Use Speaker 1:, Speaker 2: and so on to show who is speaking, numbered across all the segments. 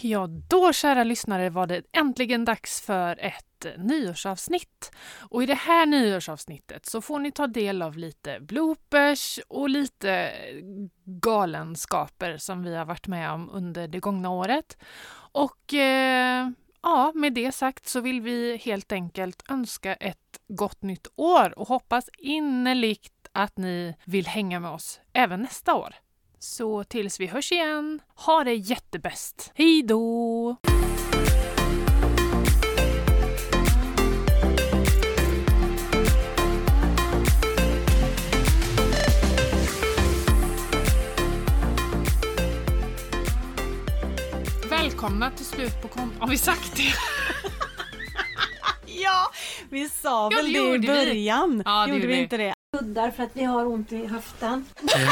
Speaker 1: Ja, då kära lyssnare var det äntligen dags för ett nyårsavsnitt. Och i det här nyårsavsnittet så får ni ta del av lite bloopers och lite galenskaper som vi har varit med om under det gångna året. Och eh, ja, med det sagt så vill vi helt enkelt önska ett gott nytt år och hoppas innerligt att ni vill hänga med oss även nästa år. Så tills vi hörs igen, ha det jättebäst! Hej då! Välkomna till slut på kontot. Har vi sagt det?
Speaker 2: Ja, vi sa
Speaker 1: Ja,
Speaker 2: väl
Speaker 1: det
Speaker 2: det
Speaker 1: gjorde vi.
Speaker 2: i början.
Speaker 1: Ja, det
Speaker 2: gjorde,
Speaker 1: gjorde
Speaker 2: vi
Speaker 1: vi.
Speaker 2: inte det?
Speaker 3: kuddar för att vi har ont i höften.
Speaker 1: Vi är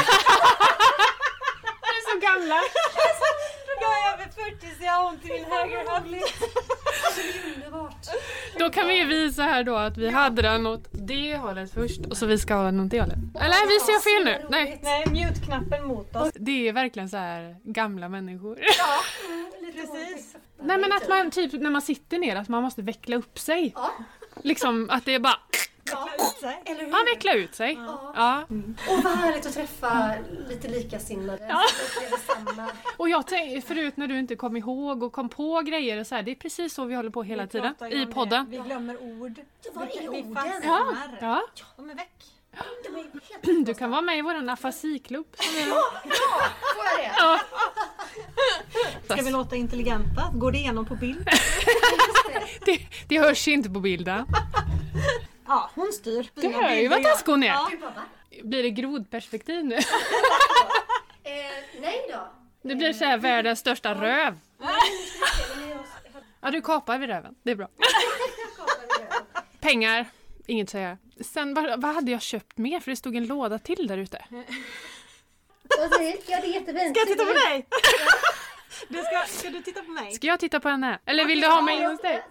Speaker 1: så gamla!
Speaker 3: Jag är över 40 så jag har ont i min högra höft. Underbart.
Speaker 1: Då kan vi ju visa här då att vi hade den åt det hållet först och så vi ska ha den åt det hållet. Eller vi ser fel nu! Nej.
Speaker 2: Nej, mute-knappen mot oss.
Speaker 1: Alltså, Det är verkligen så här gamla människor.
Speaker 2: Precis.
Speaker 1: Nej men att man typ när man sitter ner att man måste veckla upp sig. Liksom att det är bara,
Speaker 3: Eller hur?
Speaker 1: ja veckla ut sig.
Speaker 3: Ja.
Speaker 1: Ja.
Speaker 3: Och vad härligt att träffa lite likasinnade. Ja. Samma.
Speaker 1: Och jag tänkte förut när du inte kom ihåg och kom på grejer och så här, det är precis så vi håller på hela
Speaker 2: Vi
Speaker 1: tiden
Speaker 2: pratar ju
Speaker 1: i
Speaker 2: om det.
Speaker 1: podden.
Speaker 2: Vi glömmer ord.
Speaker 3: Ja, var är
Speaker 2: vi,
Speaker 3: orden?
Speaker 2: Vi fastnar.
Speaker 1: Ja, ja.
Speaker 2: De är väck.
Speaker 3: De är helt
Speaker 1: Du kan vara med i våran afasiklubb.
Speaker 3: Får jag det?
Speaker 1: Ja.
Speaker 2: Ska vi låta intelligenta? Går det igenom på bild?
Speaker 1: Det, det hörs inte på bilden.
Speaker 2: Ja, hon styr.
Speaker 1: Du
Speaker 2: Mina
Speaker 1: hör ju
Speaker 2: bilder,
Speaker 1: vad taskig hon är.
Speaker 2: Ja.
Speaker 3: Du bara va?
Speaker 1: Blir det grodperspektiv nu?
Speaker 3: Eh, nej då.
Speaker 1: Det blir så här världens största röv. Ja, du kapar vid röven. Det är bra. Pengar. Inget att säga. Sen, vad, vad hade jag köpt mer? För det stod en låda till där ute.
Speaker 3: Vad säger du? Ja det är jättefint.
Speaker 2: Ska jag titta på dig? Du ska, ska du titta på mig?
Speaker 1: Ska jag titta på henne? Eller vill du ha mig hos dig?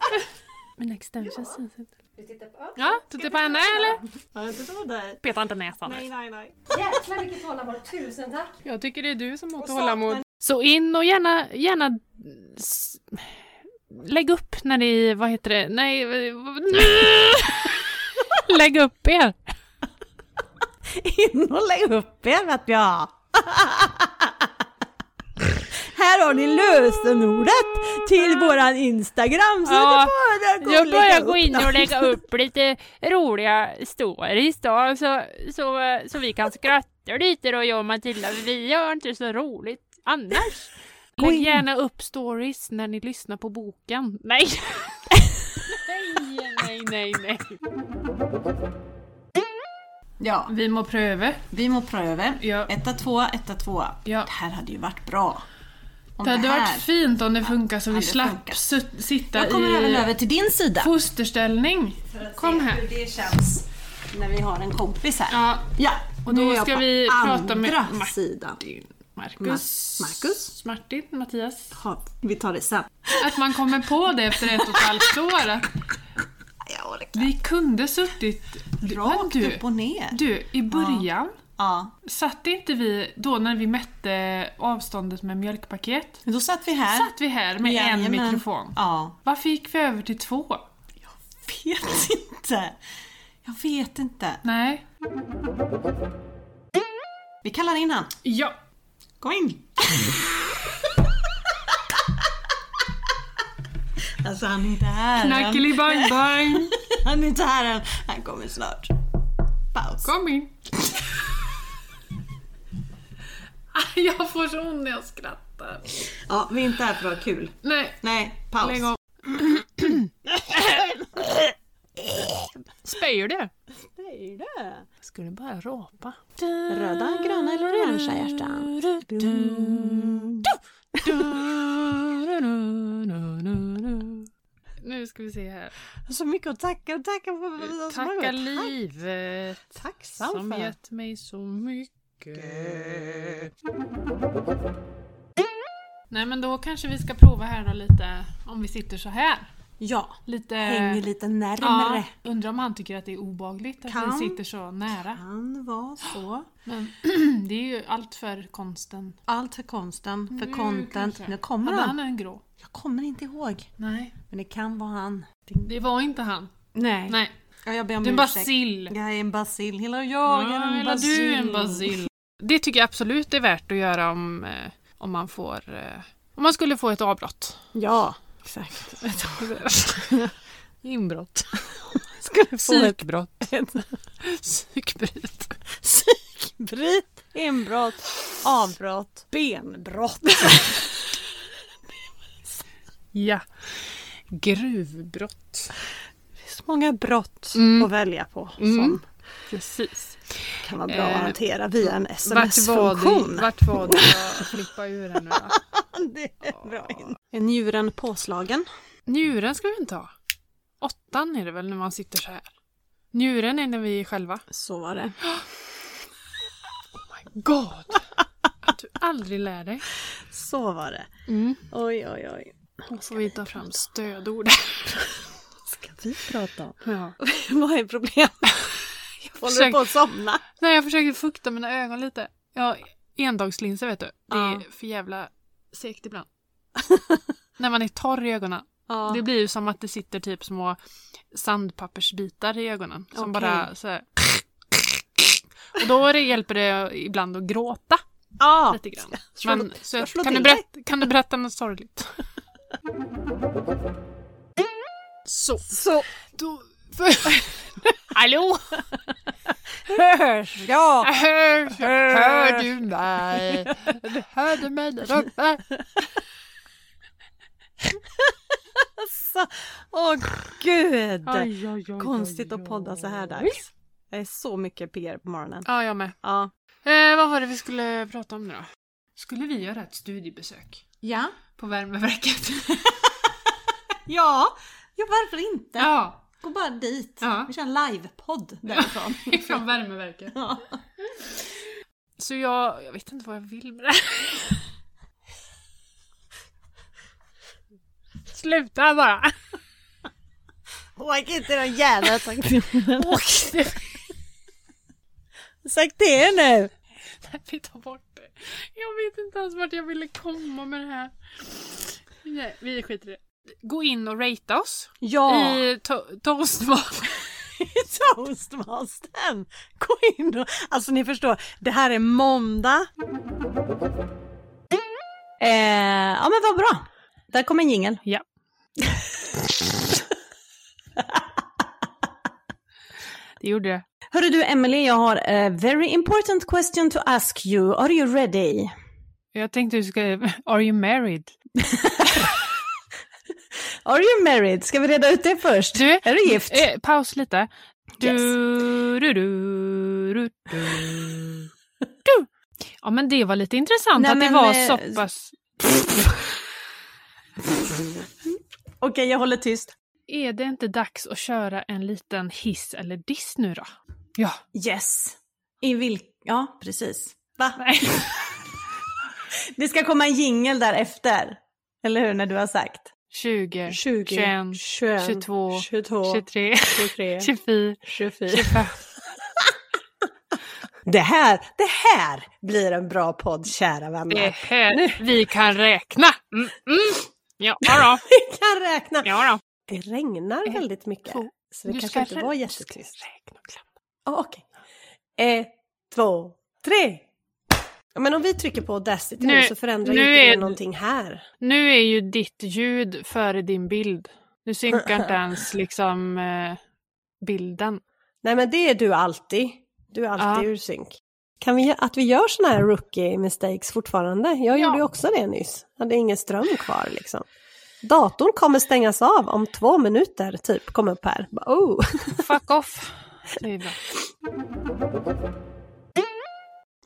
Speaker 1: Mina extensions syns inte.
Speaker 3: Du tittar på-
Speaker 1: Ja, titta på henne eller?
Speaker 2: Ja, jag tittar på dig.
Speaker 1: Peta inte näsan.
Speaker 2: Nej, nej, nej.
Speaker 3: Jäklar vilket tålamod. Tusen tack.
Speaker 1: Jag tycker det är du som har
Speaker 2: Och
Speaker 1: tålamod.
Speaker 2: saknar-
Speaker 1: Så in och gärna, gärna s- lägg upp när ni, vad heter det, nej, lägg upp er.
Speaker 2: In och lägg upp er vet jag! Här har ni lösenordet till våran Instagram så
Speaker 1: Ja,
Speaker 2: ja, det bara
Speaker 1: Jag börjar gå in
Speaker 2: och lägga
Speaker 1: och
Speaker 2: upp
Speaker 1: lägga upp lite roliga stories då, så, så, så vi kan skratta lite då jag och Matilda, för vi har inte så roligt annars.
Speaker 2: Gå
Speaker 1: Lägg
Speaker 2: in.
Speaker 1: gärna upp stories när ni lyssnar på boken. Nej! nej, nej, nej, nej.
Speaker 2: Ja,
Speaker 1: Vi må pröva.
Speaker 2: vi må pröva.
Speaker 1: Ja.
Speaker 2: Etta, tvåa, etta, tvåa.
Speaker 1: Ja.
Speaker 2: Det här hade ju varit bra. Om
Speaker 1: Det hade
Speaker 2: här-
Speaker 1: varit fint om det funkar så vi
Speaker 2: hade
Speaker 1: slapp
Speaker 2: funkat.
Speaker 1: sut- sitta
Speaker 2: Jag kommer
Speaker 1: i
Speaker 2: även över till din sida.
Speaker 1: fosterställning. Kom här.
Speaker 2: hur det känns när vi har en kompis här.
Speaker 1: Ja,
Speaker 2: Ja,
Speaker 1: Och då
Speaker 2: nu är jag
Speaker 1: ska
Speaker 2: på
Speaker 1: vi prata med
Speaker 2: andra
Speaker 1: Martin.
Speaker 2: sidan.
Speaker 1: Marcus.
Speaker 2: Ma- Marcus?
Speaker 1: Martin, Mattias.
Speaker 2: Ja, vi tar det sen.
Speaker 1: Att man kommer på det efter ett och ett halvt år att
Speaker 2: Jag orkar.
Speaker 1: vi kunde suttit... Du-
Speaker 2: Rakt
Speaker 1: men du,
Speaker 2: upp och ner.
Speaker 1: Du, i början
Speaker 2: Ja.
Speaker 1: satt inte vi, då när vi mätte avståndet med mjölkpaket,
Speaker 2: Då satt vi här.
Speaker 1: satt vi här med en
Speaker 2: Jajamän.
Speaker 1: mikrofon.
Speaker 2: Ja.
Speaker 1: Varför gick vi över till två?
Speaker 2: Vet inte. Jag vet inte.
Speaker 1: Nej.
Speaker 2: Vi kallar in han.
Speaker 1: Ja.
Speaker 2: Kom in. alltså han är inte här än.
Speaker 1: Knackeli bang bang.
Speaker 2: Han är inte här än. Han kommer snart. Paus.
Speaker 1: Kom in. jag får så ont när jag skrattar.
Speaker 2: Ja, vi är inte här för att ha kul.
Speaker 1: Nej,
Speaker 2: Nej, paus.
Speaker 1: lägg av. Spyr du?
Speaker 2: Nej, det.
Speaker 1: Skulle bara rapa.
Speaker 2: Röda, gröna eller orangea hjärtan?
Speaker 1: Nu ska vi se här.
Speaker 2: Så mycket att tacka och tacka för.
Speaker 1: Tacka livet
Speaker 2: Tacksam
Speaker 1: som
Speaker 2: för.
Speaker 1: gett mig så mycket. Nej men då kanske vi ska prova här då lite om vi sitter så här.
Speaker 2: Ja,
Speaker 1: Lite...
Speaker 2: hänger lite närmre.
Speaker 1: Eh, Ja, undrar om han tycker att det är obagligt att
Speaker 2: Kan-
Speaker 1: vi sitter så nära.
Speaker 2: Kan vara så.
Speaker 1: Men det är ju allt för konsten.
Speaker 2: Allt för konsten, för
Speaker 1: Nu
Speaker 2: content.
Speaker 1: Mm, kanske.
Speaker 2: Nu kommer
Speaker 1: Hade
Speaker 2: han.
Speaker 1: han en grå?
Speaker 2: Jag kommer inte ihåg.
Speaker 1: Nej.
Speaker 2: Men det kan vara han.
Speaker 1: Det var inte han.
Speaker 2: Nej.
Speaker 1: Nej.
Speaker 2: Ja, jag ber om
Speaker 1: Du är en
Speaker 2: ursäkt.
Speaker 1: basil.
Speaker 2: Jag är en basil. Hela jag är en
Speaker 1: eller
Speaker 2: basil.
Speaker 1: du är en basil. Det tycker jag absolut är värt att göra om, eh, om man får... eh, Om man skulle få ett avbrott.
Speaker 2: Ja, exakt.
Speaker 1: Inbrott.
Speaker 2: Skulle få ett
Speaker 1: Psykbrott. Psykbryt.
Speaker 2: bryt, inbrott, avbrott, benbrott.
Speaker 1: Ja. Gruvbrott.
Speaker 2: Det är så många brott
Speaker 1: Mm.
Speaker 2: att välja på
Speaker 1: Mm.
Speaker 2: som
Speaker 1: Precis.
Speaker 2: kan vara bra
Speaker 1: Eh,
Speaker 2: att hantera via en
Speaker 1: Vart var
Speaker 2: sms-funktion.
Speaker 1: det, vart var det jag flippade ur här nu då?
Speaker 2: Det är bra in. Är njuren påslagen?
Speaker 1: Njuren ska vi inte ha. Åttan är det väl när man sitter så här. Njuren är när vi är själva.
Speaker 2: Så var det.
Speaker 1: God! Att du aldrig lär dig.
Speaker 2: Så var det. Oj, oj, oj.
Speaker 1: Då får vi ta fram stödord.
Speaker 2: Ska vi prata om?
Speaker 1: Ja.
Speaker 2: Vad är problemet? Jag håller
Speaker 1: försöker-
Speaker 2: på att somna.
Speaker 1: Nej, jag försökte fukta mina ögon lite. Ja, endagslinser vet du. Det är
Speaker 2: Ja.
Speaker 1: för jävla segt ibland. när man är torr i ögonen.
Speaker 2: Ja.
Speaker 1: Det blir ju som att det sitter typ små sandpappersbitar i ögonen. Som
Speaker 2: Okej.
Speaker 1: bara så här. Och då är det, hjälper det ibland att gråta
Speaker 2: ja.
Speaker 1: lite grann.
Speaker 2: Slå-
Speaker 1: Men, så
Speaker 2: jag
Speaker 1: jag,
Speaker 2: slår
Speaker 1: kan, du
Speaker 2: till dig.
Speaker 1: berätta, kan du berätta något sorgligt? så.
Speaker 2: Så
Speaker 1: Då, för... Hallå!
Speaker 2: hörs jag!
Speaker 1: Hör, hör du mig? Hör du mig där uppe?
Speaker 2: Alltså, Åh gud!
Speaker 1: Oj, oj, oj,
Speaker 2: Konstigt
Speaker 1: oj,
Speaker 2: att podda så här
Speaker 1: oj.
Speaker 2: dags. Jag är så mycket PR på morgonen.
Speaker 1: Ja, jag med.
Speaker 2: Ja.
Speaker 1: Eh, vad var det vi skulle prata om nu då? Skulle vi göra ett studiebesök
Speaker 2: Ja.
Speaker 1: på Värmeverket?
Speaker 2: Ja, ja varför inte?
Speaker 1: ja,
Speaker 2: Gå bara dit.
Speaker 1: Ja.
Speaker 2: Vi kör en livepodd därifrån.
Speaker 1: från Värmeverket.
Speaker 2: Ja.
Speaker 1: Så jag, jag vet inte vad jag vill med det här. Sluta bara!
Speaker 2: Åk inte den jävla traktoren.
Speaker 1: Och det,
Speaker 2: Sagt det nu!
Speaker 1: nej, vi tar bort det. Jag vet inte ens vart jag ville komma med det här. Nej, vi skiter i det. Gå in och ratea oss
Speaker 2: Ja!
Speaker 1: i to- toastmaten.
Speaker 2: Toastmastern! Gå in och... Alltså ni förstår, det här är måndag. Eh, ja men vad bra! Där kommer jingeln.
Speaker 1: Ja. Det gjorde det.
Speaker 2: Hörru du Emily, jag har a very important question to ask you. Are you ready?
Speaker 1: Jag tänkte du skulle... Are you married?
Speaker 2: Are you married? Ska vi reda ut det först?
Speaker 1: Du,
Speaker 2: Är du gift?
Speaker 3: Mm,
Speaker 1: eh, paus lite. Du,
Speaker 2: Yes.
Speaker 1: du, du, du, du, du. Ja men det var lite intressant
Speaker 2: Nej,
Speaker 1: att
Speaker 2: men,
Speaker 1: det var
Speaker 2: eh,
Speaker 1: så pass...
Speaker 2: Okej, jag håller tyst.
Speaker 1: Är det inte dags att köra en liten hiss eller diss nu då? Ja.
Speaker 2: Yes. I vilk... Ja, precis. Va?
Speaker 1: Nej.
Speaker 2: Det ska komma en jingel därefter. Eller hur? När du har sagt.
Speaker 1: 20,
Speaker 2: 20,
Speaker 1: 21,
Speaker 2: 21,
Speaker 1: 22,
Speaker 2: 22,
Speaker 1: 23,
Speaker 2: 23,
Speaker 1: 24,
Speaker 2: 24.
Speaker 1: 25.
Speaker 2: Det här, det här blir en bra podd, kära vänner.
Speaker 1: Det är här vi kan räkna. Mm, mm. Ja, ja då.
Speaker 2: Vi kan räkna.
Speaker 1: Ja, då.
Speaker 2: Det regnar
Speaker 1: Ett,
Speaker 2: väldigt mycket.
Speaker 1: två.
Speaker 2: Så det
Speaker 1: Du
Speaker 2: kanske
Speaker 1: ska
Speaker 2: inte var
Speaker 1: rä-
Speaker 2: jättetyst.
Speaker 1: Räkna och klappa.
Speaker 2: Ja, Okej. Ett, två, tre. Ja, Men om vi trycker på Audacity nu,
Speaker 1: Nu-
Speaker 2: så förändrar
Speaker 1: nu
Speaker 2: ju inte
Speaker 1: är-
Speaker 2: det någonting här.
Speaker 1: Nu är ju ditt ljud före din bild. Du synkar inte ens liksom eh, bilden.
Speaker 2: Nej men det är du alltid. Du är alltid
Speaker 1: Ja.
Speaker 2: ur synk. Kan vi, att vi gör såna här rookie mistakes fortfarande. Jag
Speaker 1: Ja.
Speaker 2: gjorde ju också det nyss. Jag hade ingen ström kvar liksom. Datorn kommer stängas av om två minuter typ, kom upp här. Bara, Oh.
Speaker 1: Fuck off! Det är bra.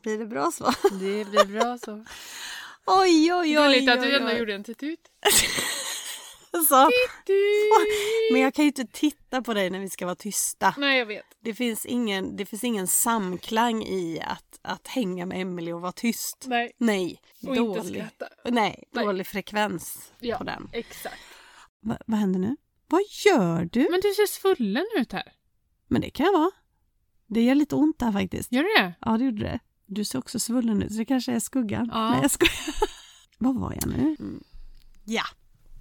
Speaker 2: Blir det bra svar?
Speaker 1: Det blir bra så.
Speaker 2: Oj, oj, oj.
Speaker 1: Gulligt att
Speaker 2: oj,
Speaker 1: du ändå
Speaker 2: oj.
Speaker 1: gjorde en tutut.
Speaker 2: Så.
Speaker 1: Du.
Speaker 2: Men jag kan ju inte titta på dig när vi ska vara tysta.
Speaker 1: Nej, jag vet.
Speaker 2: Det finns ingen, det finns ingen samklang i att, att hänga med Emily och vara tyst.
Speaker 1: Nej.
Speaker 2: Nej,
Speaker 1: Och inte
Speaker 2: dålig.
Speaker 1: skratta.
Speaker 2: Nej,
Speaker 1: Nej.
Speaker 2: dålig frekvens
Speaker 1: Ja.
Speaker 2: på den.
Speaker 1: Exakt.
Speaker 2: Va, vad händer nu?
Speaker 3: Vad gör du?
Speaker 1: Men du ser svullen ut här.
Speaker 3: Men det kan jag vara. Det gör lite ont här faktiskt.
Speaker 1: Gör du det?
Speaker 3: Ja, det gjorde det. Du ser också svullen ut, så det kanske är skuggan.
Speaker 1: Ja. Mm.
Speaker 3: Nej, jag skojar. Vad var jag nu? Ja,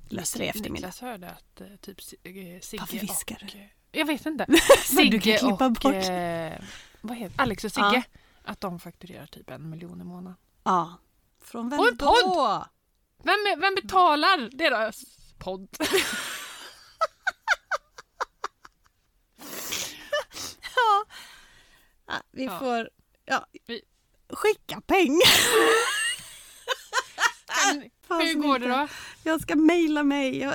Speaker 3: löser det i eftermiddag.
Speaker 1: Niklas hörde att eh, typ Sig- eh, Sigge
Speaker 3: Varför viskar
Speaker 1: och... eh, Jag vet inte.
Speaker 3: Men du kan
Speaker 1: Sigge
Speaker 3: klippa
Speaker 1: och...
Speaker 3: bort.
Speaker 1: eh, Vad heter Alex och Sigge.
Speaker 3: Ja.
Speaker 1: Att de fakturerar typ en miljon i månaden.
Speaker 3: Ja. Från vem
Speaker 1: Och en
Speaker 3: då?
Speaker 1: Vem, är- vem betalar deras podd?
Speaker 3: Ja, vi
Speaker 1: Ja.
Speaker 3: får ja,
Speaker 1: Vi-
Speaker 3: skicka pengar.
Speaker 1: Kan,
Speaker 3: Äh, Fan,
Speaker 1: hur
Speaker 3: som
Speaker 1: går
Speaker 3: inte-
Speaker 1: det då?
Speaker 3: Jag ska mejla mig. Jag,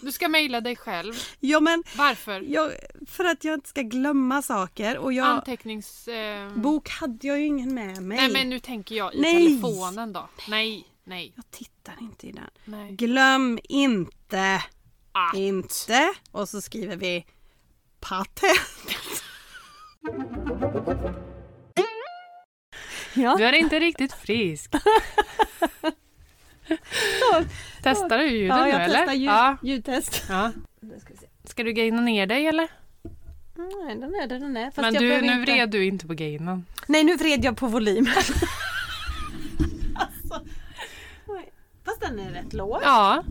Speaker 1: Du ska mejla dig själv.
Speaker 3: ja, men
Speaker 1: Varför?
Speaker 3: jag, för att jag inte ska glömma saker. Och jag,
Speaker 1: Antecknings... Eh,
Speaker 3: bok hade jag ju ingen med mig.
Speaker 1: nej men nu tänker jag i
Speaker 3: Nej.
Speaker 1: telefonen då. Nej, nej,
Speaker 3: Jag tittar inte i den.
Speaker 1: nej.
Speaker 3: Glöm inte,
Speaker 1: Ah.
Speaker 3: inte. Och så skriver vi patent. Ja,
Speaker 1: Du är inte riktigt frisk. Testar du ljuden
Speaker 3: ja,
Speaker 1: nu
Speaker 3: jag
Speaker 1: eller?
Speaker 3: testar ljud,
Speaker 1: Ja.
Speaker 3: ljudtest.
Speaker 1: ja. Ska du gaina ner dig eller?
Speaker 3: Nej, den är det den är. Fast
Speaker 1: men
Speaker 3: jag
Speaker 1: du,
Speaker 3: behöver
Speaker 1: nu
Speaker 3: inte-
Speaker 1: vred du inte på gainen.
Speaker 3: Nej, nu vred jag på volymen. alltså. oj. Fast den är rätt låg.
Speaker 1: Ja.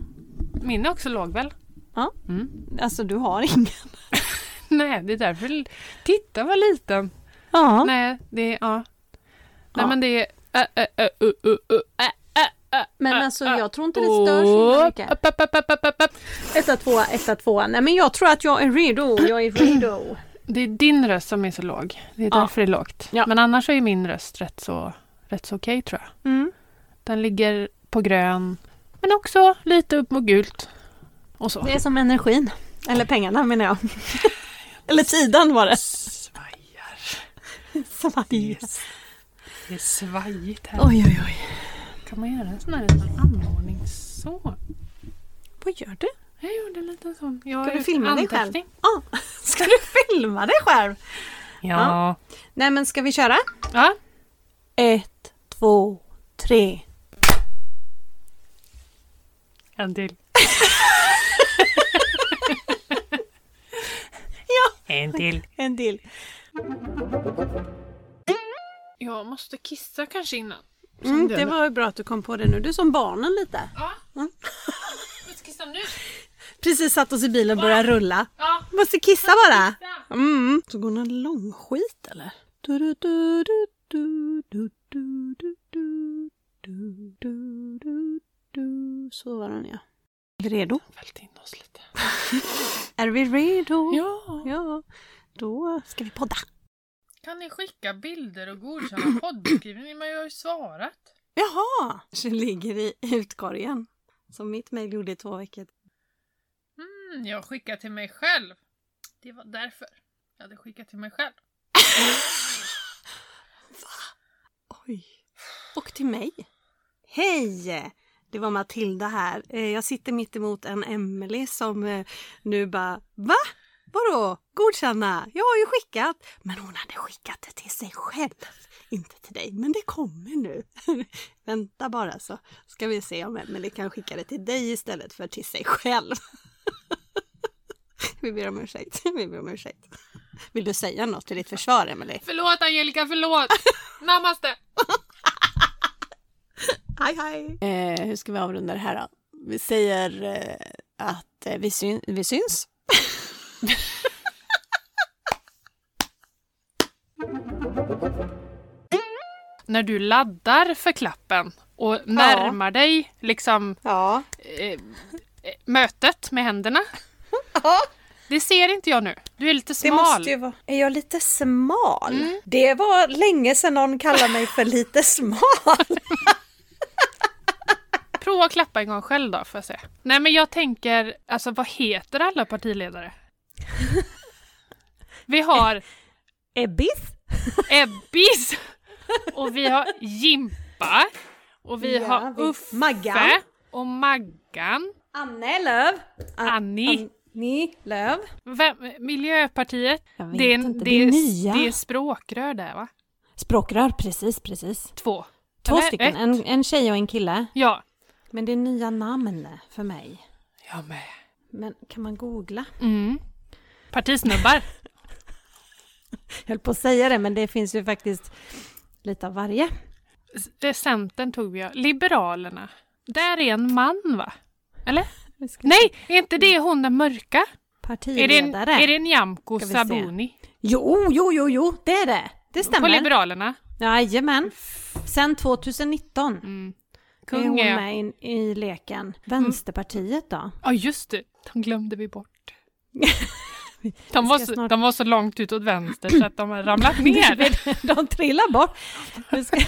Speaker 1: Min är också låg väl?
Speaker 3: Alltså du har ingen.
Speaker 1: Nej, det är därför... Titta vad liten.
Speaker 3: Ja.
Speaker 1: Nej, det är... Ja. Nej
Speaker 3: Ja.
Speaker 1: men det är... Ä, ä, ä, u, u, u, ä, ä, ä.
Speaker 3: Men alltså jag tror inte det stör så himla mycket.
Speaker 1: Upp, upp, upp, upp, upp, upp, upp.
Speaker 3: Etta, tvåa, etta, tvåa. Nej men jag tror att jag är redo. Jag är redo.
Speaker 1: Det är din röst som är så låg. Det är
Speaker 3: Ja.
Speaker 1: därför det är lågt.
Speaker 3: Ja.
Speaker 1: Men annars är min röst rätt så, rätt så okej tror jag.
Speaker 3: Mm.
Speaker 1: Den ligger på grön, men också lite upp mot gult. Och så.
Speaker 3: Det är som energin. Eller pengarna menar jag. Eller tiden var det.
Speaker 1: svajar.
Speaker 3: Som att det
Speaker 1: Det är svajigt här.
Speaker 3: Oj, oj, oj.
Speaker 1: Kan man göra en sån här liten anordning så?
Speaker 3: Vad gör du?
Speaker 1: Jag gjorde en liten sån. Jag
Speaker 3: Ska
Speaker 1: har
Speaker 3: du
Speaker 1: gjort
Speaker 3: filma dig själv?
Speaker 1: anteckning.
Speaker 3: Ah, ska du filma dig själv?
Speaker 1: Ja.
Speaker 3: Nej men ska vi köra?
Speaker 1: ja.
Speaker 3: Ett, två, tre.
Speaker 1: En till. ja. En till.
Speaker 3: En till.
Speaker 1: Jag måste kissa kanske innan.
Speaker 3: Mm, det var Mm. ju bra att du kom på det nu. Du är som barnen lite.
Speaker 1: Ja. Jag ska kissa nu.
Speaker 3: Precis satt oss i bilen och började rulla.
Speaker 1: Ja.
Speaker 3: Måste kissa bara. Mm. Så går någon lång skit eller? Du, du, du, du, du, du, du, du, du, du, du, du, du. Så var den ja. Är vi redo?
Speaker 1: Vält in oss lite.
Speaker 3: Är vi redo?
Speaker 1: Ja.
Speaker 3: Ja. Då ska vi podda.
Speaker 1: Kan ni skicka bilder och godkänna poddbeskrivningen? Men jag har ju svarat.
Speaker 3: Jaha! Det ligger i utkorgen. Som mitt mejl gjorde i två veckor.
Speaker 1: Mm, jag skickar till mig själv. Det var därför. Jag hade skickat till mig själv.
Speaker 3: Oj. Och till mig. Hej! Det var Matilda här. Eh, Jag sitter mitt emot en Emily som eh, nu bara Va? Vadå? Godkänna? Jag har ju skickat. Men hon hade skickat det till sig själv. Inte till dig, men det kommer nu. Vänta bara så ska vi se om Emily kan skicka det till dig istället för till sig själv. vi ber om ursäkt. Vi ber om ursäkt. Vill du säga något till ditt försvar, Emily?
Speaker 1: Förlåt Angelica, förlåt! Namaste!
Speaker 3: Hej hej! Eh, hur ska vi avrunda det här då? Vi säger eh, att eh, vi, syn- vi syns.
Speaker 1: När du laddar för klappen och närmar dig liksom
Speaker 3: Ja.
Speaker 1: eh, eh, mötet med händerna. Det ser inte jag nu. Du är lite
Speaker 3: Det
Speaker 1: smal.
Speaker 3: måste ju vara... Är jag lite smal? Det var länge sedan någon kallade mig för lite smal.
Speaker 1: Prova att klappa en gång själv då, får jag se. Nej men jag tänker, alltså vad heter alla partiledare? Vi har
Speaker 3: Ebbis?
Speaker 1: Ebbis och vi har Jimpa och vi
Speaker 3: Ja,
Speaker 1: har
Speaker 3: vi-
Speaker 1: Uffe
Speaker 3: Maggan.
Speaker 1: och Maggan,
Speaker 3: Anne Lööf? A-
Speaker 1: Annie.
Speaker 3: Annie Lööf?
Speaker 1: Vem, Miljöpartiet,
Speaker 3: Jag vet
Speaker 1: det är,
Speaker 3: inte,
Speaker 1: det,
Speaker 3: det är
Speaker 1: är,
Speaker 3: nya.
Speaker 1: det är språkrör där va?
Speaker 3: Språkrör, precis, precis.
Speaker 1: Två.
Speaker 3: Två
Speaker 1: Eller
Speaker 3: stycken,
Speaker 1: ett.
Speaker 3: en, en tjej och en kille.
Speaker 1: Ja.
Speaker 3: Men det är nya namn för mig.
Speaker 1: Jag med.
Speaker 2: Men kan man googla?
Speaker 1: Mm. Partisnubbar.
Speaker 2: Jag höll på att säga det, men det finns ju faktiskt lite av varje.
Speaker 1: S- eh, Centern tog vi, ja. Liberalerna. Där är en man, va? Eller?
Speaker 2: Vi ska-
Speaker 1: Nej, är inte det hon den mörka? Är det, en,
Speaker 2: Partiledare.
Speaker 1: är det Nyamko
Speaker 2: Ska vi se.
Speaker 1: Sabuni
Speaker 2: Jo, jo, jo, jo, det är det. Det
Speaker 1: på
Speaker 2: stämmer.
Speaker 1: Liberalerna?
Speaker 2: Jajamän. Sen 2019
Speaker 1: Mm.
Speaker 2: är hon
Speaker 1: Kung Mm. är...
Speaker 2: med i, i leken. Vänsterpartiet då?
Speaker 1: Ja, just det. De glömde vi bort. De var,
Speaker 2: ska
Speaker 1: så,
Speaker 2: snart-
Speaker 1: de var så långt ut åt vänster så att de har ramlat ner.
Speaker 2: De trillar bort. Vi ska...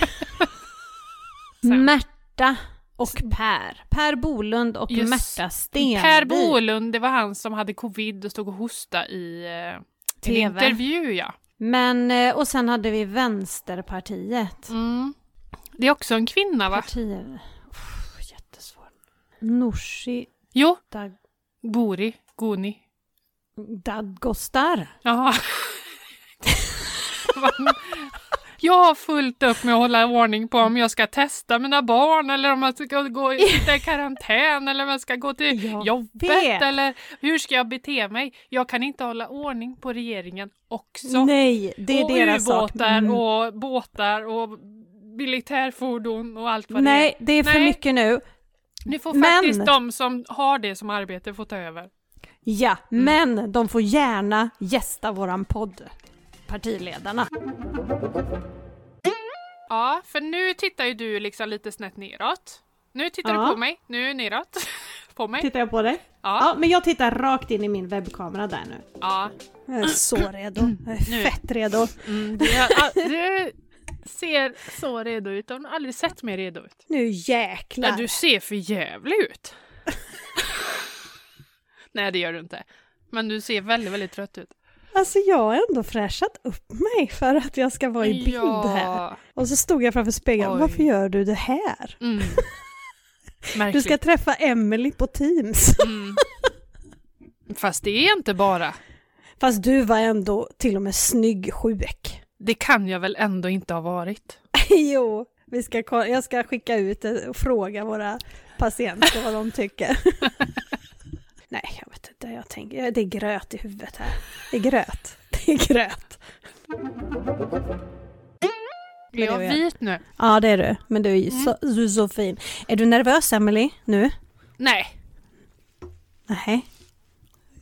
Speaker 2: Märta och Per. Per Bolund och
Speaker 1: Just.
Speaker 2: Märta Stenvik.
Speaker 1: Per Bolund, det var han som hade covid och stod och hosta i eh, en
Speaker 2: TV.
Speaker 1: intervju. Ja.
Speaker 2: Men, eh, och sen hade vi Vänsterpartiet.
Speaker 1: Mm. Det är också en kvinna, va?
Speaker 2: Partier. Uff, jättesvårt. Nooshi
Speaker 1: Jo,
Speaker 2: Dag-
Speaker 1: Bori, Goni.
Speaker 2: Dadgostar.
Speaker 1: Jaha. Jag har fullt upp med att hålla ordning på om jag ska testa mina barn eller om jag ska gå i sitta i karantän eller om jag ska gå till
Speaker 2: Jag
Speaker 1: jobbet
Speaker 2: vet.
Speaker 1: eller hur ska jag bete mig? Jag kan inte hålla ordning på regeringen också.
Speaker 2: Nej, det
Speaker 1: och ubåtar
Speaker 2: Mm.
Speaker 1: och båtar och militärfordon och allt vad det är.
Speaker 2: Nej, det är för
Speaker 1: Nej.
Speaker 2: mycket nu.
Speaker 1: Nu får
Speaker 2: men-
Speaker 1: faktiskt de som har det som arbete få ta över.
Speaker 2: Ja,
Speaker 3: Mm.
Speaker 2: men de får gärna gästa våran podd. Partiledarna.
Speaker 1: Ja, för nu tittar ju du liksom lite snett neråt. Nu tittar
Speaker 2: Ja.
Speaker 1: du på mig, nu neråt. på mig.
Speaker 2: Tittar jag på dig?
Speaker 1: Ja,
Speaker 2: Ja, men jag tittar rakt in i min webbkamera där nu.
Speaker 1: ja.
Speaker 3: Jag är så redo.
Speaker 2: Mm.
Speaker 3: Jag
Speaker 1: Nu.
Speaker 3: är fett redo.
Speaker 1: Mm, du, ja, du ser så redo ut. Jag har aldrig sett mig redo ut.
Speaker 3: Nu
Speaker 1: Ja,
Speaker 3: jäklar.
Speaker 1: du ser för jävlig ut. Nej, det gör du inte. Men du ser väldigt, väldigt trött ut.
Speaker 3: Alltså jag har ändå fräschat upp mig för att jag ska vara i bild här. Och så stod jag framför spegeln.
Speaker 1: Oj.
Speaker 3: Varför gör du det här?
Speaker 1: Mm.
Speaker 3: Du
Speaker 1: Märkligt.
Speaker 3: ska träffa Emily på Teams.
Speaker 1: Mm. Fast det är inte bara.
Speaker 3: Fast du var ändå till och med snygg sjuk.
Speaker 1: Det kan jag väl ändå inte ha varit.
Speaker 3: jo, vi ska, ko- jag ska skicka ut det och fråga våra patienter vad de tycker. Nej, jag vet inte. Jag tänker, jag- det är gröt i huvudet här. Det är gröt. Det är gröt.
Speaker 1: Är jag
Speaker 3: det var jag.
Speaker 1: vit nu?
Speaker 3: Ja, det är du. Men du är ju så, du är så fin. Är du nervös, Emily? nu?
Speaker 1: Nej.
Speaker 3: Nej.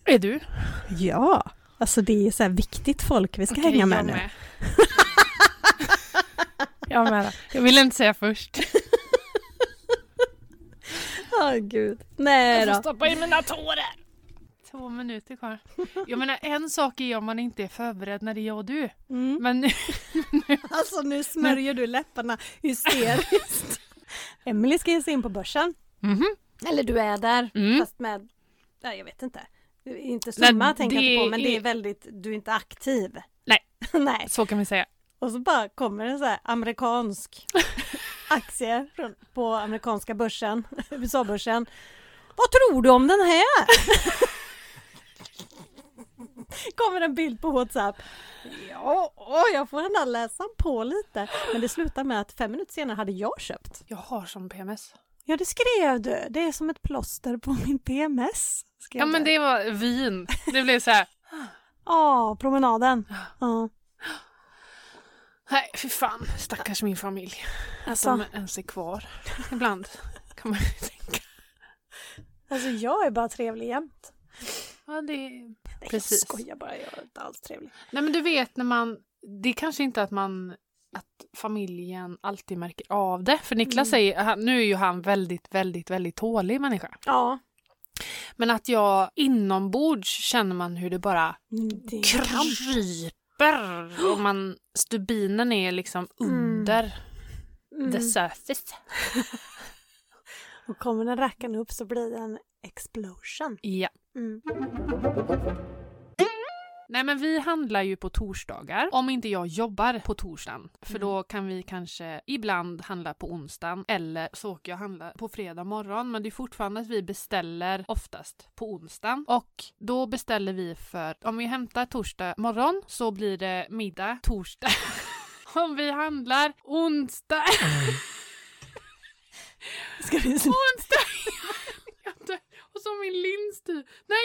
Speaker 1: Är du?
Speaker 3: Ja. Alltså det är så här viktigt folk vi ska
Speaker 1: Okej,
Speaker 3: hänga
Speaker 1: jag
Speaker 3: med nu.
Speaker 1: jag med. Jag ville inte säga först.
Speaker 3: Åh gud. Nej
Speaker 1: Jag får
Speaker 3: då.
Speaker 1: stoppa in mina tårar. Två minuter kvar. Jag menar en sak är ju om man inte är förberedd när det är jag och du.
Speaker 3: Mm.
Speaker 1: Men nu,
Speaker 3: Alltså nu smörjer du läpparna hysteriskt. Emily ska ge sig in på börsen.
Speaker 1: Mhm.
Speaker 3: Eller du är där,
Speaker 1: Mm.
Speaker 3: fast med... Nej, jag vet inte. Det är Inte
Speaker 1: Nej,
Speaker 3: summa tänker jag inte
Speaker 1: det
Speaker 3: på, men det
Speaker 1: är-
Speaker 3: är väldigt... Du är inte aktiv.
Speaker 1: Nej.
Speaker 3: Nej.
Speaker 1: så kan vi säga.
Speaker 3: Och så bara kommer en så här amerikansk aktie från, på amerikanska börsen, USA-börsen. Vad tror du om den här? kommer en bild på Whatsapp. Ja, åh, jag får ändå läsa på lite. Men det slutar med att fem minuter senare hade jag köpt.
Speaker 1: Jag har som PMS.
Speaker 3: Ja, det skrev du. Det är som ett plåster på min PMS. skrev
Speaker 1: Ja men
Speaker 3: du.
Speaker 1: det var vin. Det blev så här.
Speaker 3: Ja, promenaden. Ja.
Speaker 1: Nej fy fan, stackars min familj.
Speaker 3: Alltså,
Speaker 1: Som ens är kvar. Ibland kan man ju tänka.
Speaker 3: alltså, jag är bara trevlig jämt.
Speaker 1: Ja, det
Speaker 3: Nej,
Speaker 1: Precis.
Speaker 3: Jag skojar bara, jag är inte alls trevlig.
Speaker 1: Nej men du vet när man, det är kanske inte att man, att familjen alltid märker av det. För Niklas
Speaker 3: Mm.
Speaker 1: säger, han- nu är ju han väldigt, väldigt, väldigt tålig människa.
Speaker 3: Ja.
Speaker 1: Men att jag inombords känner man hur det bara
Speaker 3: Mm, Det
Speaker 1: kryper och man, stubinen är liksom under the surface.
Speaker 3: Och kommer den rackaren upp så blir det en explosion.
Speaker 1: Ja.
Speaker 3: Mm.
Speaker 1: Nej men vi handlar ju på torsdagar om inte jag jobbar på torsdagen. För då kan vi kanske ibland handla på onsdagen eller så åker jag handla på fredag morgon. Men det är fortfarande att vi beställer oftast på onsdagen. Och då beställer vi för om vi hämtar torsdag morgon så blir det middag torsdag. om vi handlar onsdag.
Speaker 3: Ska vi...
Speaker 1: onsdag. Och så min lins typ. Nej,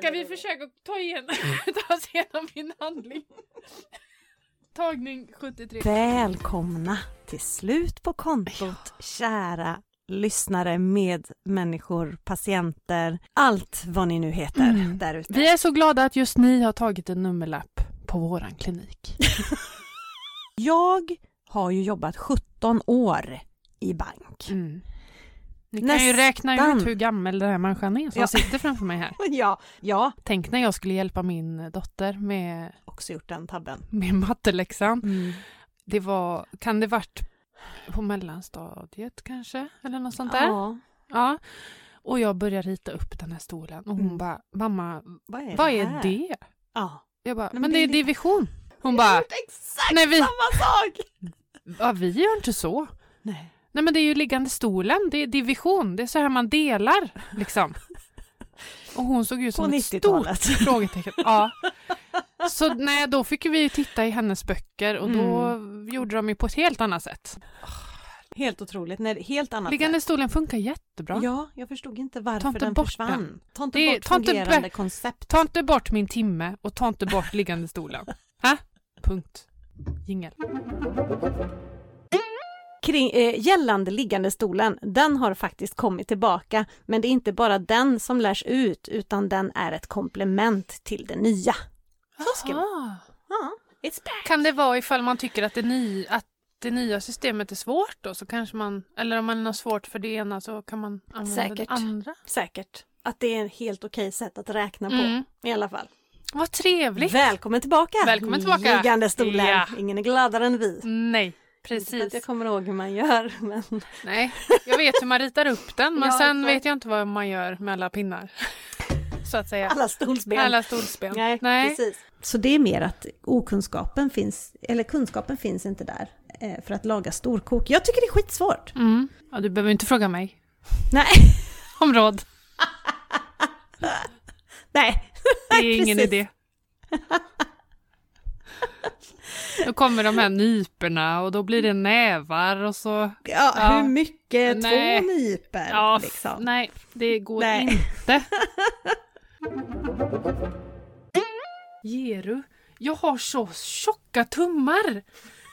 Speaker 1: Ska vi försöka ta, igen, ta oss igenom min handling? Tagning 73.
Speaker 3: Välkomna till slut på kontot, kära lyssnare, medmänniskor, patienter, allt vad ni nu heter
Speaker 1: Mm.
Speaker 3: där ute.
Speaker 1: Vi är så glada att just ni har tagit en nummerlapp på våran klinik.
Speaker 3: Jag har ju jobbat 17 år i bank.
Speaker 1: Mm. Ni kan ju
Speaker 3: Nästan.
Speaker 1: räkna ut hur gammal den här människan är som
Speaker 3: Ja.
Speaker 1: sitter framför mig här.
Speaker 3: Ja, ja.
Speaker 1: Tänk när jag skulle hjälpa min dotter med,
Speaker 3: Också gjort den tabben.
Speaker 1: med matteläxan.
Speaker 3: Mm.
Speaker 1: Det var, kan det varit på mellanstadiet kanske? Eller något sånt där. Ja.
Speaker 3: Ja,
Speaker 1: Och jag började rita upp den här stolen och hon
Speaker 3: Mm.
Speaker 1: bara, mamma,
Speaker 3: vad är
Speaker 1: vad
Speaker 3: det?
Speaker 1: är
Speaker 3: här?
Speaker 1: det?
Speaker 3: Ja.
Speaker 1: Jag bara, men,
Speaker 3: men det
Speaker 1: det är
Speaker 3: är li-
Speaker 1: division. Hon
Speaker 3: Jag har
Speaker 1: bara,
Speaker 3: gjort exakt
Speaker 1: nej vi,
Speaker 3: samma sak!
Speaker 1: ja, vi gör inte så.
Speaker 3: Nej.
Speaker 1: Nej men det är ju liggande stolen, det är division, det är så här man delar liksom. Och hon såg ut
Speaker 3: På
Speaker 1: som ett stort
Speaker 3: 90-talet.
Speaker 1: frågetecken. Ja. Så nej, då fick vi ju titta i hennes böcker och då
Speaker 3: Mm.
Speaker 1: gjorde de ju på ett helt annat sätt.
Speaker 3: Helt otroligt. Nej, helt annat.
Speaker 1: Liggande stolen funkar jättebra.
Speaker 3: Ja, jag förstod inte varför
Speaker 1: Ta inte
Speaker 3: den
Speaker 1: bort
Speaker 3: försvann.
Speaker 1: den.
Speaker 3: Ta inte
Speaker 1: Det-
Speaker 3: bort
Speaker 1: ta inte
Speaker 3: fungerande
Speaker 1: bort-
Speaker 3: koncept.
Speaker 1: Ta inte bort min timme och ta inte bort liggande stolen. Ha? Punkt. Jingel.
Speaker 3: Kring, eh, gällande liggande stolen, den har faktiskt kommit tillbaka. Men det är inte bara den som lärs ut, utan den är ett komplement till det nya. Så ska vi.
Speaker 1: Ah.
Speaker 3: Ja, it's back.
Speaker 1: Kan det vara ifall man tycker att det, ny, att det nya systemet är svårt då så kanske man, eller om man har svårt för det ena så kan man använda det
Speaker 3: Säkert.
Speaker 1: andra.
Speaker 3: Säkert att det är ett helt okej sätt att räkna på
Speaker 1: Mm.
Speaker 3: i alla fall.
Speaker 1: Vad trevligt!
Speaker 3: Välkommen tillbaka!
Speaker 1: Välkommen tillbaka.
Speaker 3: Liggande stolen.
Speaker 1: Ja.
Speaker 3: Ingen är gladare än vi.
Speaker 1: Nej,
Speaker 3: Inte för att
Speaker 1: precis.
Speaker 3: Jag kommer ihåg hur man gör, men
Speaker 1: Nej, jag vet hur man ritar upp den men
Speaker 3: Ja,
Speaker 1: sen
Speaker 3: exakt.
Speaker 1: vet jag inte vad man gör med alla pinnar. Så att säga.
Speaker 3: alla stolsben.
Speaker 1: Alla stolsben.
Speaker 3: Nej, precis.
Speaker 2: Så det är mer att okunskapen finns, eller kunskapen finns inte där eh, för att laga storkok. Jag tycker det är skitsvårt.
Speaker 1: Mm. Ja, du behöver inte fråga mig
Speaker 2: Nej,
Speaker 1: om råd.
Speaker 2: nej.
Speaker 1: Det är ingen
Speaker 2: precis.
Speaker 1: idé. Då kommer de här nyperna och då blir det nävar och så...
Speaker 2: Ja,
Speaker 1: Ja.
Speaker 2: hur mycket?
Speaker 1: Nej.
Speaker 2: Två nyper
Speaker 1: Ja, f-
Speaker 2: liksom.
Speaker 1: nej, det går
Speaker 2: Nej.
Speaker 1: inte. Geru, jag har så tjocka tummar.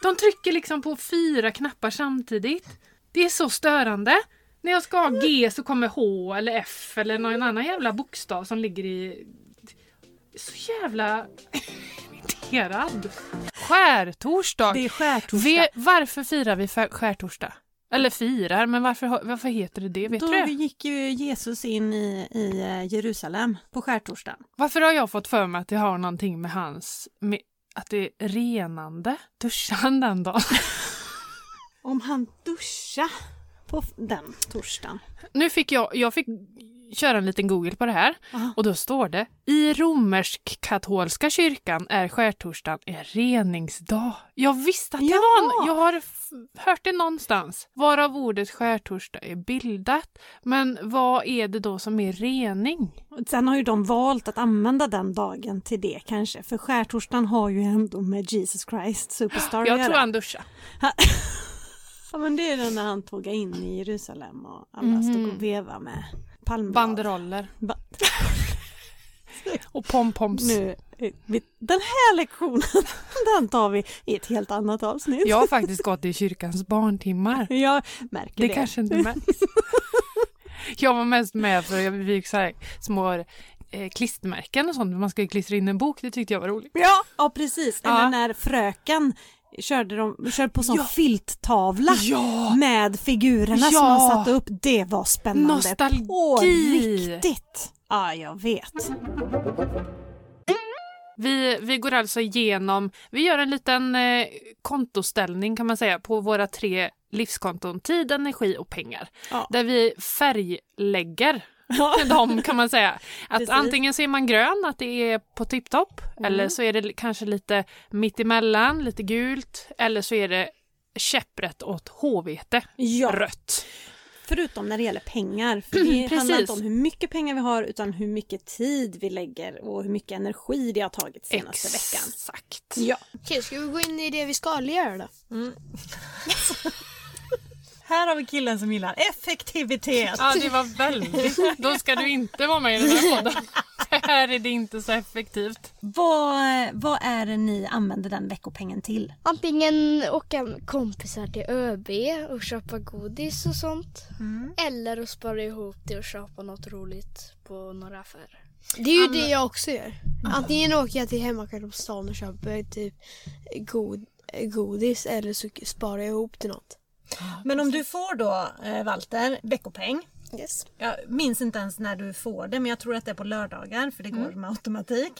Speaker 1: De trycker liksom på fyra knappar samtidigt. Det är så störande. När jag ska ha G så kommer H eller F eller någon annan jävla bokstav som ligger i... Så jävla irriterad. Skärtorsdag.
Speaker 3: Det är skärtorsdag.
Speaker 1: Vi, varför firar vi fär- skärtorsdag? Eller firar, men varför, har- varför heter det det? Vet
Speaker 3: Då
Speaker 1: du det?
Speaker 3: gick ju Jesus in i, i eh, Jerusalem på skärtorsdagen.
Speaker 1: Varför har jag fått för mig att det har någonting med hans... Med, att det är renande? Duschar han den dagen?
Speaker 3: Om han duscha på f- den torsdagen.
Speaker 1: Nu fick jag, jag fick köra en liten google på det här
Speaker 3: Aha.
Speaker 1: och då står det i romersk-katolska kyrkan är skärtorsdagen en reningsdag. Jag visste att det
Speaker 3: Ja.
Speaker 1: var en, jag har f- hört det någonstans. Varav ordet skärtorsdag är bildat. Men vad är det då som är rening?
Speaker 3: Och Sen har ju de valt att använda den dagen till det kanske, för skärtorsdagen har ju ändå med Jesus Christ Superstar att
Speaker 1: Jag
Speaker 3: göra.
Speaker 1: tror han duschar.
Speaker 3: Ja men det är den när han tågar in i Jerusalem och alla
Speaker 1: Mhm.
Speaker 3: stod och vevade med palmblad.
Speaker 1: Banderoller
Speaker 3: Ba-
Speaker 1: och pompoms.
Speaker 3: nu, eh, vi- den här lektionen, den tar vi i ett helt annat avsnitt.
Speaker 1: Jag har faktiskt gått i kyrkans barntimmar.
Speaker 3: Jag märker
Speaker 1: Det
Speaker 3: det.
Speaker 1: kanske inte märks. Jag var mest med för jag fick så här små eh, klistermärken och sånt. Man skulle klistra in en bok, det tyckte jag var roligt.
Speaker 3: Ja, ja precis.
Speaker 1: Ja.
Speaker 3: Eller när fröken körde, de, körde på sån filttavla
Speaker 1: Ja!
Speaker 3: med figurerna
Speaker 1: Ja.
Speaker 3: som man satte upp. Det var spännande.
Speaker 1: Nostalgi.
Speaker 3: På riktigt! Ja, jag vet.
Speaker 1: Vi, vi går alltså igenom, vi gör en liten eh, kontoställning kan man säga på våra tre livskonton tid, energi och pengar.
Speaker 3: Ja.
Speaker 1: Där vi färglägger
Speaker 3: Ja.
Speaker 1: dem kan man säga. Att
Speaker 3: Precis. Mm.
Speaker 1: antingen så är man grön, att det är på tipptopp, eller så är det kanske lite mittemellan, lite gult, eller så är det käpprätt åt hårvete,
Speaker 3: Ja,
Speaker 1: rött.
Speaker 3: förutom när det gäller pengar. För det handlar
Speaker 1: Precis.
Speaker 3: inte om hur mycket pengar vi har utan hur mycket tid vi lägger och hur mycket energi det har tagit senaste veckan.
Speaker 1: Exakt.
Speaker 3: Ja.
Speaker 4: Okej, ska vi gå in i det vi ska göra då?
Speaker 3: Här har vi killen som gillar effektivitet.
Speaker 1: Ja, det var väldigt... Då ska du inte vara med i den här podden. här är det inte så effektivt.
Speaker 5: Vad, vad är det ni använder den veckopengen till?
Speaker 6: Antingen åka med kompisar till ÖB och köpa godis och sånt. Eller att spara ihop det och köpa något roligt på några affärer. Det är ju det jag också gör. Antingen åker jag till hemmakarlstan och köper typ god, godis eller så sparar jag ihop till något.
Speaker 5: Men om du får då, eh, Walter, veckopeng.
Speaker 6: Yes.
Speaker 5: Jag minns inte ens när du får det men jag tror att det är på lördagar för det går
Speaker 1: Mm.
Speaker 5: med automatik.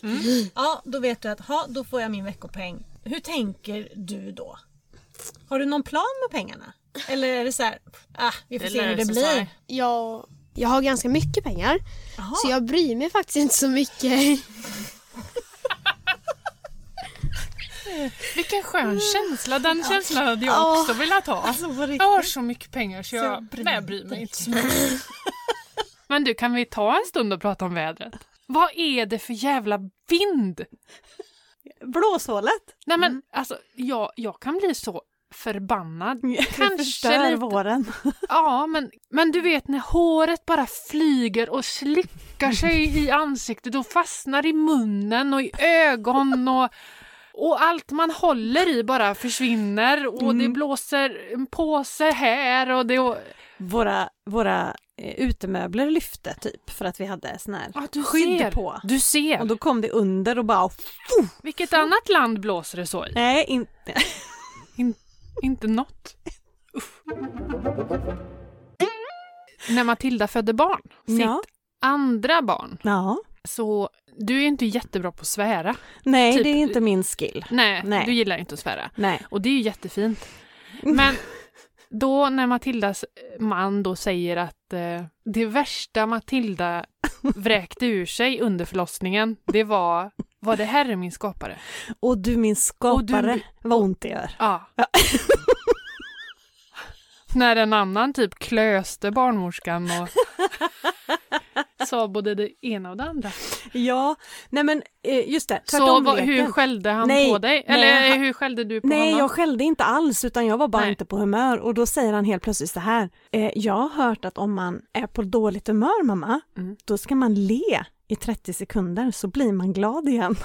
Speaker 5: Ja, då vet du att ha, då får jag min veckopeng. Hur tänker du då? Har du någon plan med pengarna? Eller är det så här, ah, vi får
Speaker 1: Det
Speaker 5: se hur det
Speaker 1: löser sig.
Speaker 5: blir.
Speaker 6: Jag, jag har ganska mycket pengar
Speaker 5: Jaha.
Speaker 6: så jag bryr mig faktiskt inte så mycket.
Speaker 1: Vilken skön känsla. Den känslan hade jag
Speaker 6: Ja.
Speaker 1: också velat ha.
Speaker 5: Alltså på
Speaker 1: Jag har
Speaker 5: riktigt.
Speaker 1: så mycket pengar så
Speaker 5: jag
Speaker 1: jag,
Speaker 5: bryr
Speaker 1: nej, jag bryr mig inte så mycket. Men du, kan vi ta en stund och prata om vädret? Vad är det för jävla vind?
Speaker 3: Blåshålet!
Speaker 1: Nej men alltså, jag, jag kan bli så förbannad.
Speaker 3: Kanske förstör
Speaker 1: lite.
Speaker 3: våren.
Speaker 1: Ja, men, men du vet när håret bara flyger och slickar sig i ansiktet och fastnar i munnen och i ögon och, och allt man håller i bara försvinner och det blåser en påse här och det... Och,
Speaker 3: Våra, våra eh, utemöbler lyfte typ för att vi hade sån här
Speaker 1: Ja, du
Speaker 3: skydd
Speaker 1: ser.
Speaker 3: på.
Speaker 1: Du ser!
Speaker 3: Och då kom det under och bara...
Speaker 1: Vilket annat land blåser det så i?
Speaker 3: Nej, inte.
Speaker 1: Inte något. Uff. När Matilda födde barn, sitt
Speaker 3: Ja.
Speaker 1: andra barn,
Speaker 3: ja.
Speaker 1: så du är inte jättebra på att svära.
Speaker 3: Nej,
Speaker 1: Typ-
Speaker 3: det är inte min skill.
Speaker 1: Nej,
Speaker 3: Nej.
Speaker 1: du gillar inte att svära.
Speaker 3: Nej.
Speaker 1: Och det är ju jättefint. Men då när Matildas eh, man då säger att eh, det värsta Matilda vräkte ur sig under förlossningen, det var var det här är min skapare?
Speaker 3: Och du min skapare,
Speaker 1: Och
Speaker 3: vad ont det gör.
Speaker 1: Ja. När en annan typ klöste barnmorskan och sa både det ena och det andra.
Speaker 3: Ja, nej men eh, just det,
Speaker 1: Så
Speaker 3: tvärtom
Speaker 1: vad,
Speaker 3: leken.
Speaker 1: hur skällde han
Speaker 3: Nej,
Speaker 1: på dig?
Speaker 3: nej,
Speaker 1: Eller
Speaker 3: han-
Speaker 1: hur skällde du på
Speaker 3: Nej,
Speaker 1: honom?
Speaker 3: jag skällde inte alls utan jag var bara
Speaker 1: Nej.
Speaker 3: inte på humör och då säger han helt plötsligt så här. Eh, jag har hört att om man är på dåligt humör mamma,
Speaker 1: Mm.
Speaker 3: då ska man le i 30 sekunder så blir man glad igen.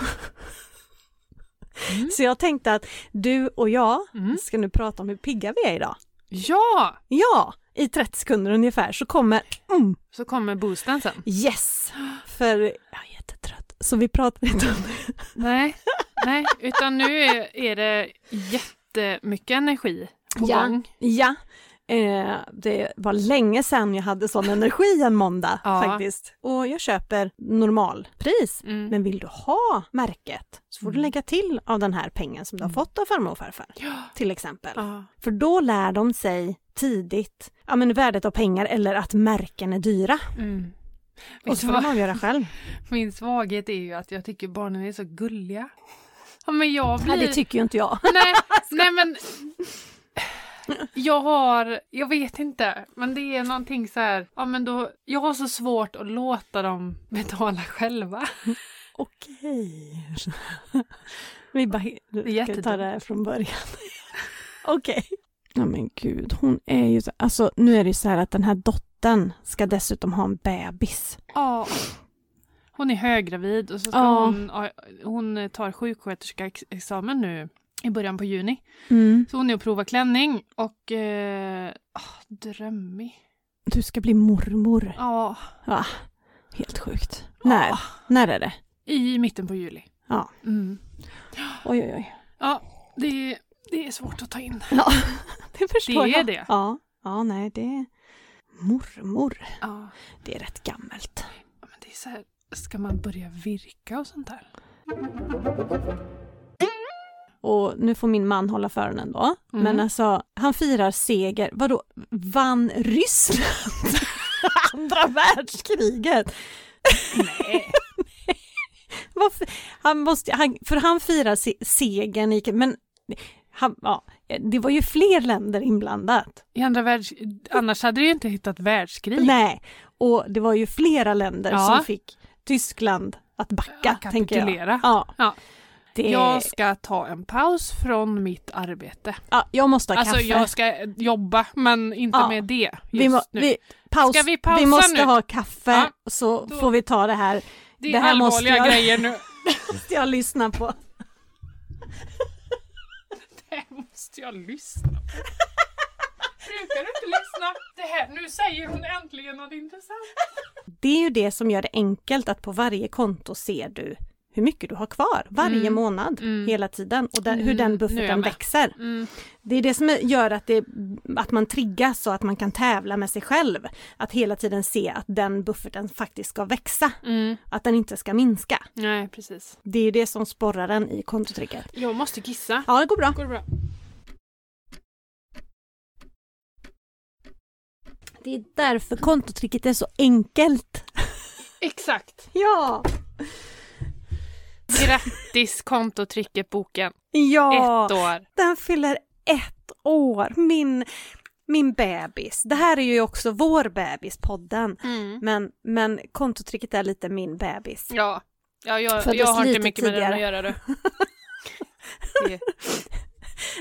Speaker 3: Så jag tänkte att du och jag
Speaker 1: Mm.
Speaker 3: ska nu prata om hur pigga vi är idag.
Speaker 1: Ja!
Speaker 3: Ja, i 30 sekunder ungefär så kommer mm,
Speaker 1: Så kommer boosten sen.
Speaker 3: yes, för jag är jättetrött så vi pratar inte om det.
Speaker 1: Nej, nej utan nu är, är det jättemycket energi på
Speaker 3: Ja.
Speaker 1: gång.
Speaker 3: Ja, eh, det var länge sedan jag hade sån energi en måndag
Speaker 1: Ja.
Speaker 3: faktiskt. Och jag köper normalpris.
Speaker 1: Mm.
Speaker 3: Men vill du ha märket så får
Speaker 1: Mm.
Speaker 3: du lägga till av den här pengen som du har fått av farmor och farfar
Speaker 1: Ja.
Speaker 3: till exempel.
Speaker 1: Ja.
Speaker 3: För då lär de sig tidigt ja, men värdet av pengar eller att märken är dyra.
Speaker 1: Mm.
Speaker 3: Och
Speaker 1: Vet
Speaker 3: så
Speaker 1: du
Speaker 3: får de
Speaker 1: vad?
Speaker 3: avgöra själv.
Speaker 1: Min svaghet är ju att jag tycker barnen är så gulliga. Ja, men jag blir...
Speaker 3: Nej, det tycker ju inte jag.
Speaker 1: nej, nej men jag har, jag vet inte, men det är någonting så här, ja men då, jag har så svårt att låta dem betala själva.
Speaker 3: Okej. Vi bara,
Speaker 1: Det är
Speaker 3: du ska ta
Speaker 1: jättedumt.
Speaker 3: det här från början. Okej. Ja men gud, hon är ju så, alltså nu är det ju så här att den här dottern ska dessutom ha en bebis.
Speaker 1: Ja. Hon är höggravid och så ska
Speaker 3: Ja.
Speaker 1: hon, ja, hon tar sjuksköterskeexamen nu i början på juni.
Speaker 3: Mm.
Speaker 1: Så hon är och provar klänning och eh, ah, drömmig.
Speaker 3: Du ska bli mormor.
Speaker 1: Ja,
Speaker 3: Helt sjukt. När? När är det?
Speaker 1: i mitten på juli.
Speaker 3: Ja.
Speaker 1: Mm.
Speaker 3: Oj oj oj.
Speaker 1: Ja, det, det är svårt att ta in.
Speaker 3: Ja, det förstår
Speaker 1: Det är
Speaker 3: jag.
Speaker 1: det.
Speaker 3: Ja. ja, nej det är mormor.
Speaker 1: Ja.
Speaker 3: Det är rätt gammalt.
Speaker 1: Ja, Men det är så här, ska man börja virka och sånt där?
Speaker 3: Och nu får min man hålla för den då.
Speaker 1: Mm.
Speaker 3: Men alltså, han firar seger. Vadå, vann Ryssland andra världskriget? Nej. Varför? Han måste, han, för han firar se, segern i men han, ja, det var ju fler länder inblandat.
Speaker 1: I andra världs... Annars hade du ju inte hittat världskrig.
Speaker 3: Nej, och det var ju flera länder
Speaker 1: Ja.
Speaker 3: som fick Tyskland att backa,
Speaker 1: Ja,
Speaker 3: tänker jag.
Speaker 1: kapitulera.
Speaker 3: Ja.
Speaker 1: Ja.
Speaker 3: Det,
Speaker 1: Jag
Speaker 3: jag...
Speaker 1: ska ta en paus från mitt arbete.
Speaker 3: Ja, jag måste ha
Speaker 1: Alltså
Speaker 3: kaffe.
Speaker 1: jag ska jobba men inte
Speaker 3: Ja.
Speaker 1: med det just
Speaker 3: vi, må,
Speaker 1: nu.
Speaker 3: vi, paus,
Speaker 1: Ska vi pausa
Speaker 3: måste
Speaker 1: nu?
Speaker 3: ha kaffe
Speaker 1: Ja.
Speaker 3: så
Speaker 1: Då-
Speaker 3: får vi ta det här
Speaker 1: Det
Speaker 7: Det
Speaker 1: är
Speaker 7: här måste
Speaker 1: allvarliga
Speaker 7: jag-
Speaker 1: grejer nu.
Speaker 7: måste jag lyssna på.
Speaker 1: Det här måste jag lyssna på. Brukar du inte lyssna? Det här, nu säger hon äntligen något intressant.
Speaker 3: Det är ju det som gör det enkelt att på varje konto ser du hur mycket du har kvar varje
Speaker 1: Mm.
Speaker 3: månad
Speaker 1: Mm.
Speaker 3: hela tiden och där, hur
Speaker 1: Mm. Nu
Speaker 3: den
Speaker 1: är jag
Speaker 3: bufferten
Speaker 1: med.
Speaker 3: växer.
Speaker 1: Mm.
Speaker 3: Det är det som gör att, det, att man triggas och att man kan tävla med sig själv. Att hela tiden se att den bufferten faktiskt ska växa,
Speaker 1: Mm.
Speaker 3: att den inte ska minska.
Speaker 1: Nej, precis.
Speaker 3: Det är ju det som sporrar den i kontotricket.
Speaker 1: Jag måste kissa.
Speaker 3: Ja, det går bra.
Speaker 1: Går det bra?
Speaker 3: Det är därför kontotricket är så enkelt.
Speaker 1: Exakt.
Speaker 3: Ja!
Speaker 1: Grattis kontotricket-boken.
Speaker 3: Ja!
Speaker 1: Ett år.
Speaker 3: Den fyller ett år, min, min bebis. Det här är ju också vår bebis-podden.
Speaker 1: Mm.
Speaker 3: Men, men kontotricket är lite min bebis.
Speaker 1: Ja, ja jag,
Speaker 3: Föddes
Speaker 1: jag har inte
Speaker 3: lite
Speaker 1: mycket med den att
Speaker 3: tidigare.
Speaker 1: göra du. Det-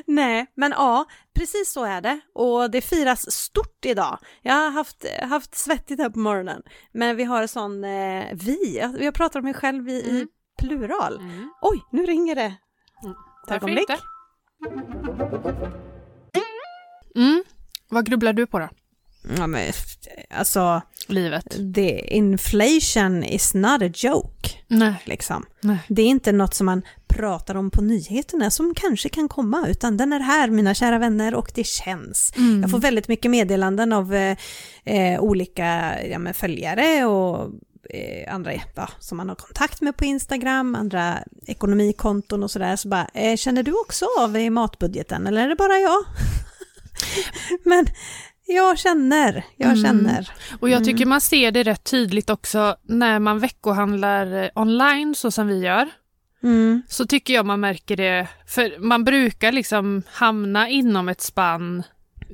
Speaker 3: Nej, men ja, precis så är det. Och det firas stort idag. Jag har haft, haft svettigt här på morgonen. Men vi har en sån eh, vi. Jag pratar om mig själv i, i
Speaker 1: Mm.
Speaker 3: plural.
Speaker 1: Mm.
Speaker 3: Oj, nu ringer det.
Speaker 1: Mm.
Speaker 3: Ett ögonblick.
Speaker 1: inte? Mm. Vad grubblar du på då?
Speaker 3: Ja, men f- alltså,
Speaker 1: Livet?
Speaker 3: the inflation is not a joke,
Speaker 1: Nej.
Speaker 3: liksom.
Speaker 1: Nej.
Speaker 3: Det är inte något som man pratar om på nyheterna som kanske kan komma, utan den är här, mina kära vänner, och det känns.
Speaker 1: Mm.
Speaker 3: Jag får väldigt mycket meddelanden av eh, eh, olika ja, men följare och eh, andra ja, som man har kontakt med på Instagram, andra ekonomikonton och sådär. Så bara, eh, känner du också av i matbudgeten eller är det bara jag? men jag känner, jag
Speaker 1: Mm.
Speaker 3: känner.
Speaker 1: Och jag
Speaker 3: Mm.
Speaker 1: tycker man ser det rätt tydligt också när man veckohandlar eh, online så som vi gör.
Speaker 3: Mm.
Speaker 1: Så tycker jag man märker det, för man brukar liksom hamna inom ett spann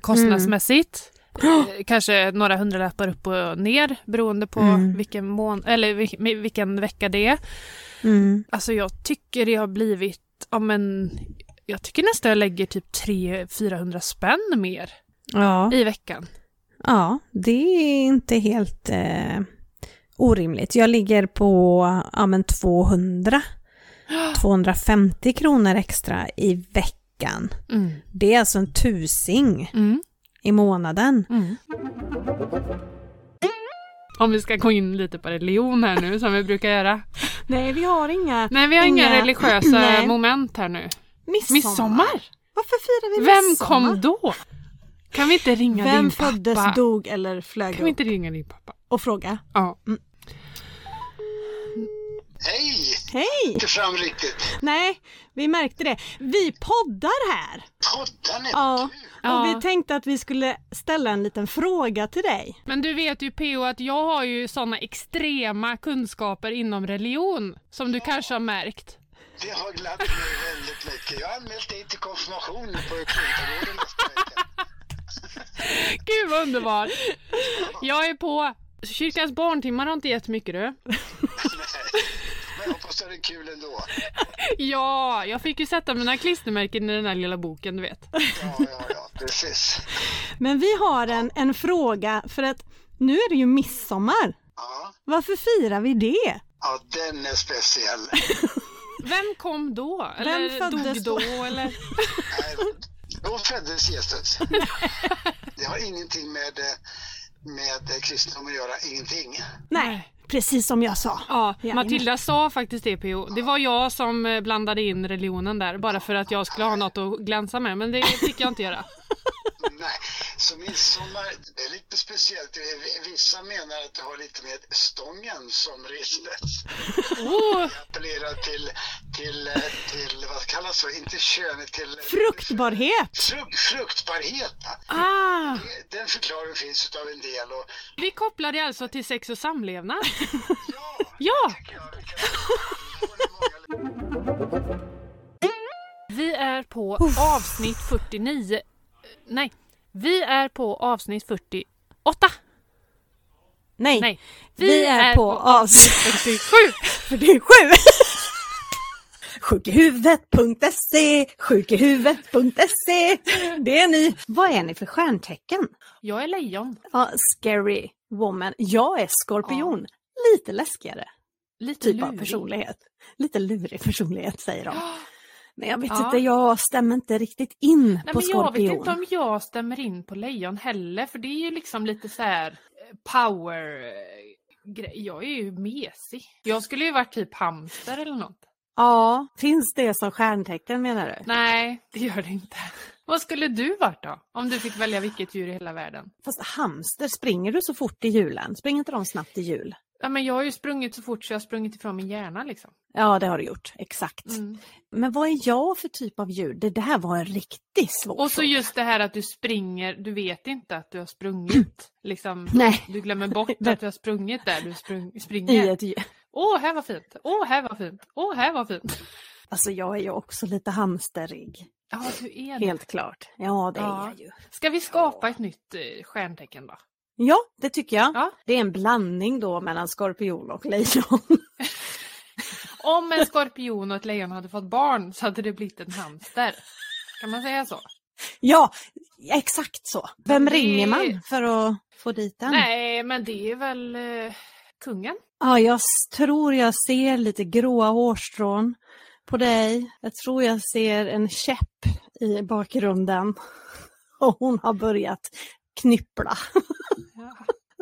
Speaker 1: kostnadsmässigt.
Speaker 3: Mm.
Speaker 1: Eh, Kanske några hundralappar upp och ner beroende på
Speaker 3: Mm.
Speaker 1: vilken, mån- eller vil- vilken vecka det är.
Speaker 3: Mm.
Speaker 1: Alltså jag tycker det har blivit, ja men jag tycker nästan jag lägger typ 300-400 spänn mer
Speaker 3: Ja.
Speaker 1: i veckan.
Speaker 3: ja, det är inte helt eh, orimligt. Jag ligger på ja, men 200, 250 kronor extra i veckan.
Speaker 1: Mm.
Speaker 3: Det är alltså en tusing
Speaker 1: Mm.
Speaker 3: i månaden.
Speaker 1: Om vi ska gå in lite på religion här nu som vi brukar göra.
Speaker 3: Nej, vi har inga
Speaker 1: Nej, vi har inga,
Speaker 3: Inga-
Speaker 1: religiösa
Speaker 3: Nej.
Speaker 1: moment här nu.
Speaker 3: midsommar.
Speaker 1: Midsommar?
Speaker 3: Varför firar vi
Speaker 1: Vem
Speaker 3: midsommar?
Speaker 1: kom då? Kan vi inte ringa din
Speaker 3: Vem
Speaker 1: pappa?
Speaker 3: föddes, dog eller flög
Speaker 1: Kan vi
Speaker 3: upp
Speaker 1: inte ringa din pappa?
Speaker 3: och fråga?
Speaker 1: Ja.
Speaker 3: Mm.
Speaker 8: Hej!
Speaker 3: Hej!
Speaker 8: Inte fram riktigt.
Speaker 3: Nej, vi märkte det. Vi poddar här!
Speaker 8: Poddar ni?
Speaker 3: Ja.
Speaker 1: Ja.
Speaker 3: Och vi tänkte att vi skulle ställa en liten fråga till dig.
Speaker 1: Men du vet ju PO att jag har ju sådana extrema kunskaper inom religion som du kanske har märkt.
Speaker 8: Det har glatt mig väldigt mycket. Jag har anmält dig till konfirmation på Kungsträdgården nästa vecka.
Speaker 1: Gud vad underbart! Jag är på! Kyrkans barntimmar har inte gett mycket du.
Speaker 8: Nej, Men jag hoppas att det är kul ändå.
Speaker 1: Ja, jag fick ju sätta mina klistermärken i den där lilla boken du vet.
Speaker 8: Ja, ja, ja, precis.
Speaker 3: Men vi har en, en fråga för att nu är det ju midsommar.
Speaker 8: Ja,
Speaker 3: Varför firar vi det?
Speaker 8: ja den är speciell.
Speaker 1: Vem kom då? Eller
Speaker 3: Vem föddes
Speaker 1: dog då? Eller?
Speaker 8: Nej, Då föddes Jesus. Det har ingenting med, eh, med kristendom att göra, ingenting.
Speaker 3: Nej, precis som jag sa.
Speaker 1: Ja,
Speaker 3: Ja,
Speaker 1: Matilda sa faktiskt det PO. Det var jag som eh, blandade in religionen där bara för att jag skulle ha något att glänsa med men det fick jag inte göra.
Speaker 8: Nej, så midsommar, det är lite speciellt. Eh, Vissa menar att det har lite med stången som ristet.
Speaker 1: Oh,
Speaker 8: appellerar till, till, eh, till vad kallas det, inte könet, till
Speaker 3: Fruktbarhet!
Speaker 8: Fruk, fruktbarhet.
Speaker 1: ah,
Speaker 8: Den förklaringen finns utav en del och
Speaker 1: vi kopplar det alltså till sex och samlevnad.
Speaker 8: ja,
Speaker 1: Ja!
Speaker 8: tycker jag vi kan- det var många
Speaker 1: Vi är på avsnitt 49. Eh, Nej, vi är på avsnitt 48.
Speaker 3: Nej,
Speaker 1: Nej,
Speaker 3: vi, är, på
Speaker 1: 47.
Speaker 3: avsnitt 47! Sjukihuvud.se, sjukihuvud.se. Det är ni. Vad är ni för stjärntecken?
Speaker 1: Jag är lejon.
Speaker 3: Ja, scary woman. Jag är skorpion. Lite läskigare.
Speaker 1: Lite
Speaker 2: typ av
Speaker 1: lurig.
Speaker 2: personlighet. Lite lurig personlighet säger de. Men jag vet
Speaker 1: Ja.
Speaker 2: inte, jag stämmer inte riktigt in
Speaker 1: Nej,
Speaker 2: på
Speaker 1: men jag vet
Speaker 2: skorpion.
Speaker 1: inte om jag stämmer in på lejon heller för det är ju liksom lite så här eh, power eh, grej. Jag är ju mesig. Jag skulle ju varit typ hamster eller något.
Speaker 2: Ja, finns det som stjärntecken menar du?
Speaker 1: Nej, det gör det inte. Vad skulle du varit då? Om du fick välja vilket djur i hela världen?
Speaker 2: Fast hamster, springer du så fort i julen? Springer inte de snabbt i jul?
Speaker 1: Ja, men jag har ju sprungit så fort så jag har sprungit ifrån min hjärna liksom.
Speaker 2: Ja, det har du gjort. Exakt.
Speaker 1: Mm.
Speaker 2: Men vad är jag för typ av djur? Det, det här var en riktigt svår
Speaker 1: Och så
Speaker 2: fråga.
Speaker 1: just det här att du springer, du vet inte att du har sprungit. Liksom,
Speaker 2: Nej.
Speaker 1: du glömmer bort att du har sprungit där du sprung,
Speaker 2: I
Speaker 1: springer.
Speaker 2: ett, djur.
Speaker 1: Åh, här var fint! Åh, här var fint! Åh, här var fint!
Speaker 2: alltså jag är ju också lite hamsterig.
Speaker 1: Ja, du är det.
Speaker 2: Helt klart. Ja, det
Speaker 1: Ja.
Speaker 2: är jag ju.
Speaker 1: Ska vi skapa ett nytt eh, stjärntecken då?
Speaker 2: Ja, det tycker jag.
Speaker 1: Ja.
Speaker 2: Det är en blandning då mellan skorpion och lejon.
Speaker 1: Om en skorpion och ett lejon hade fått barn så hade det blivit en hamster. Kan man säga så?
Speaker 2: ja, exakt så. Vem
Speaker 1: Det-
Speaker 2: ringer man för att få dit den?
Speaker 1: Nej, men det är väl eh, kungen?
Speaker 2: Ja, jag s- tror jag ser lite gråa hårstrån på dig. Jag tror jag ser en käpp i bakgrunden. Och hon har börjat knyppla,
Speaker 1: Ja.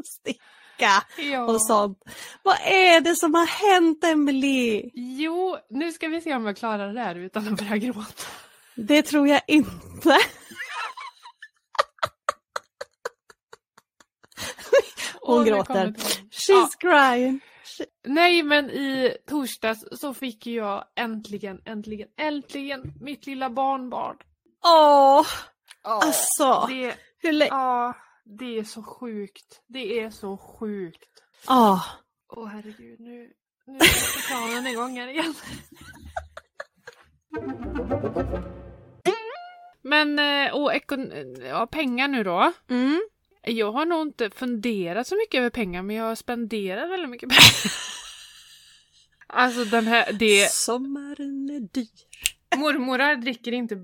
Speaker 2: sticka
Speaker 1: Ja.
Speaker 2: och sånt. Vad är det som har hänt Emily?
Speaker 1: Jo, nu ska vi se om jag klarar det här utan att börja gråta.
Speaker 2: Det tror jag inte. Hon
Speaker 1: Åh, nu
Speaker 2: gråter.
Speaker 1: kommer tårarna.
Speaker 2: She's crying.
Speaker 1: Nej, men i torsdags så fick jag äntligen, äntligen, äntligen mitt lilla barnbarn.
Speaker 2: Åh, alltså.
Speaker 1: Det,
Speaker 2: Hur lä-
Speaker 1: ja, det är så sjukt. Det är så sjukt.
Speaker 2: Åh,
Speaker 1: Åh herregud, nu, nu är planen igång här igen. Men, eh, och ekon- ja, pengar nu då.
Speaker 2: Mm.
Speaker 1: Jag har nog inte funderat så mycket över pengar men jag spenderar väldigt mycket pengar. Alltså den här, det,
Speaker 2: Sommaren är dyr.
Speaker 1: mormorar dricker inte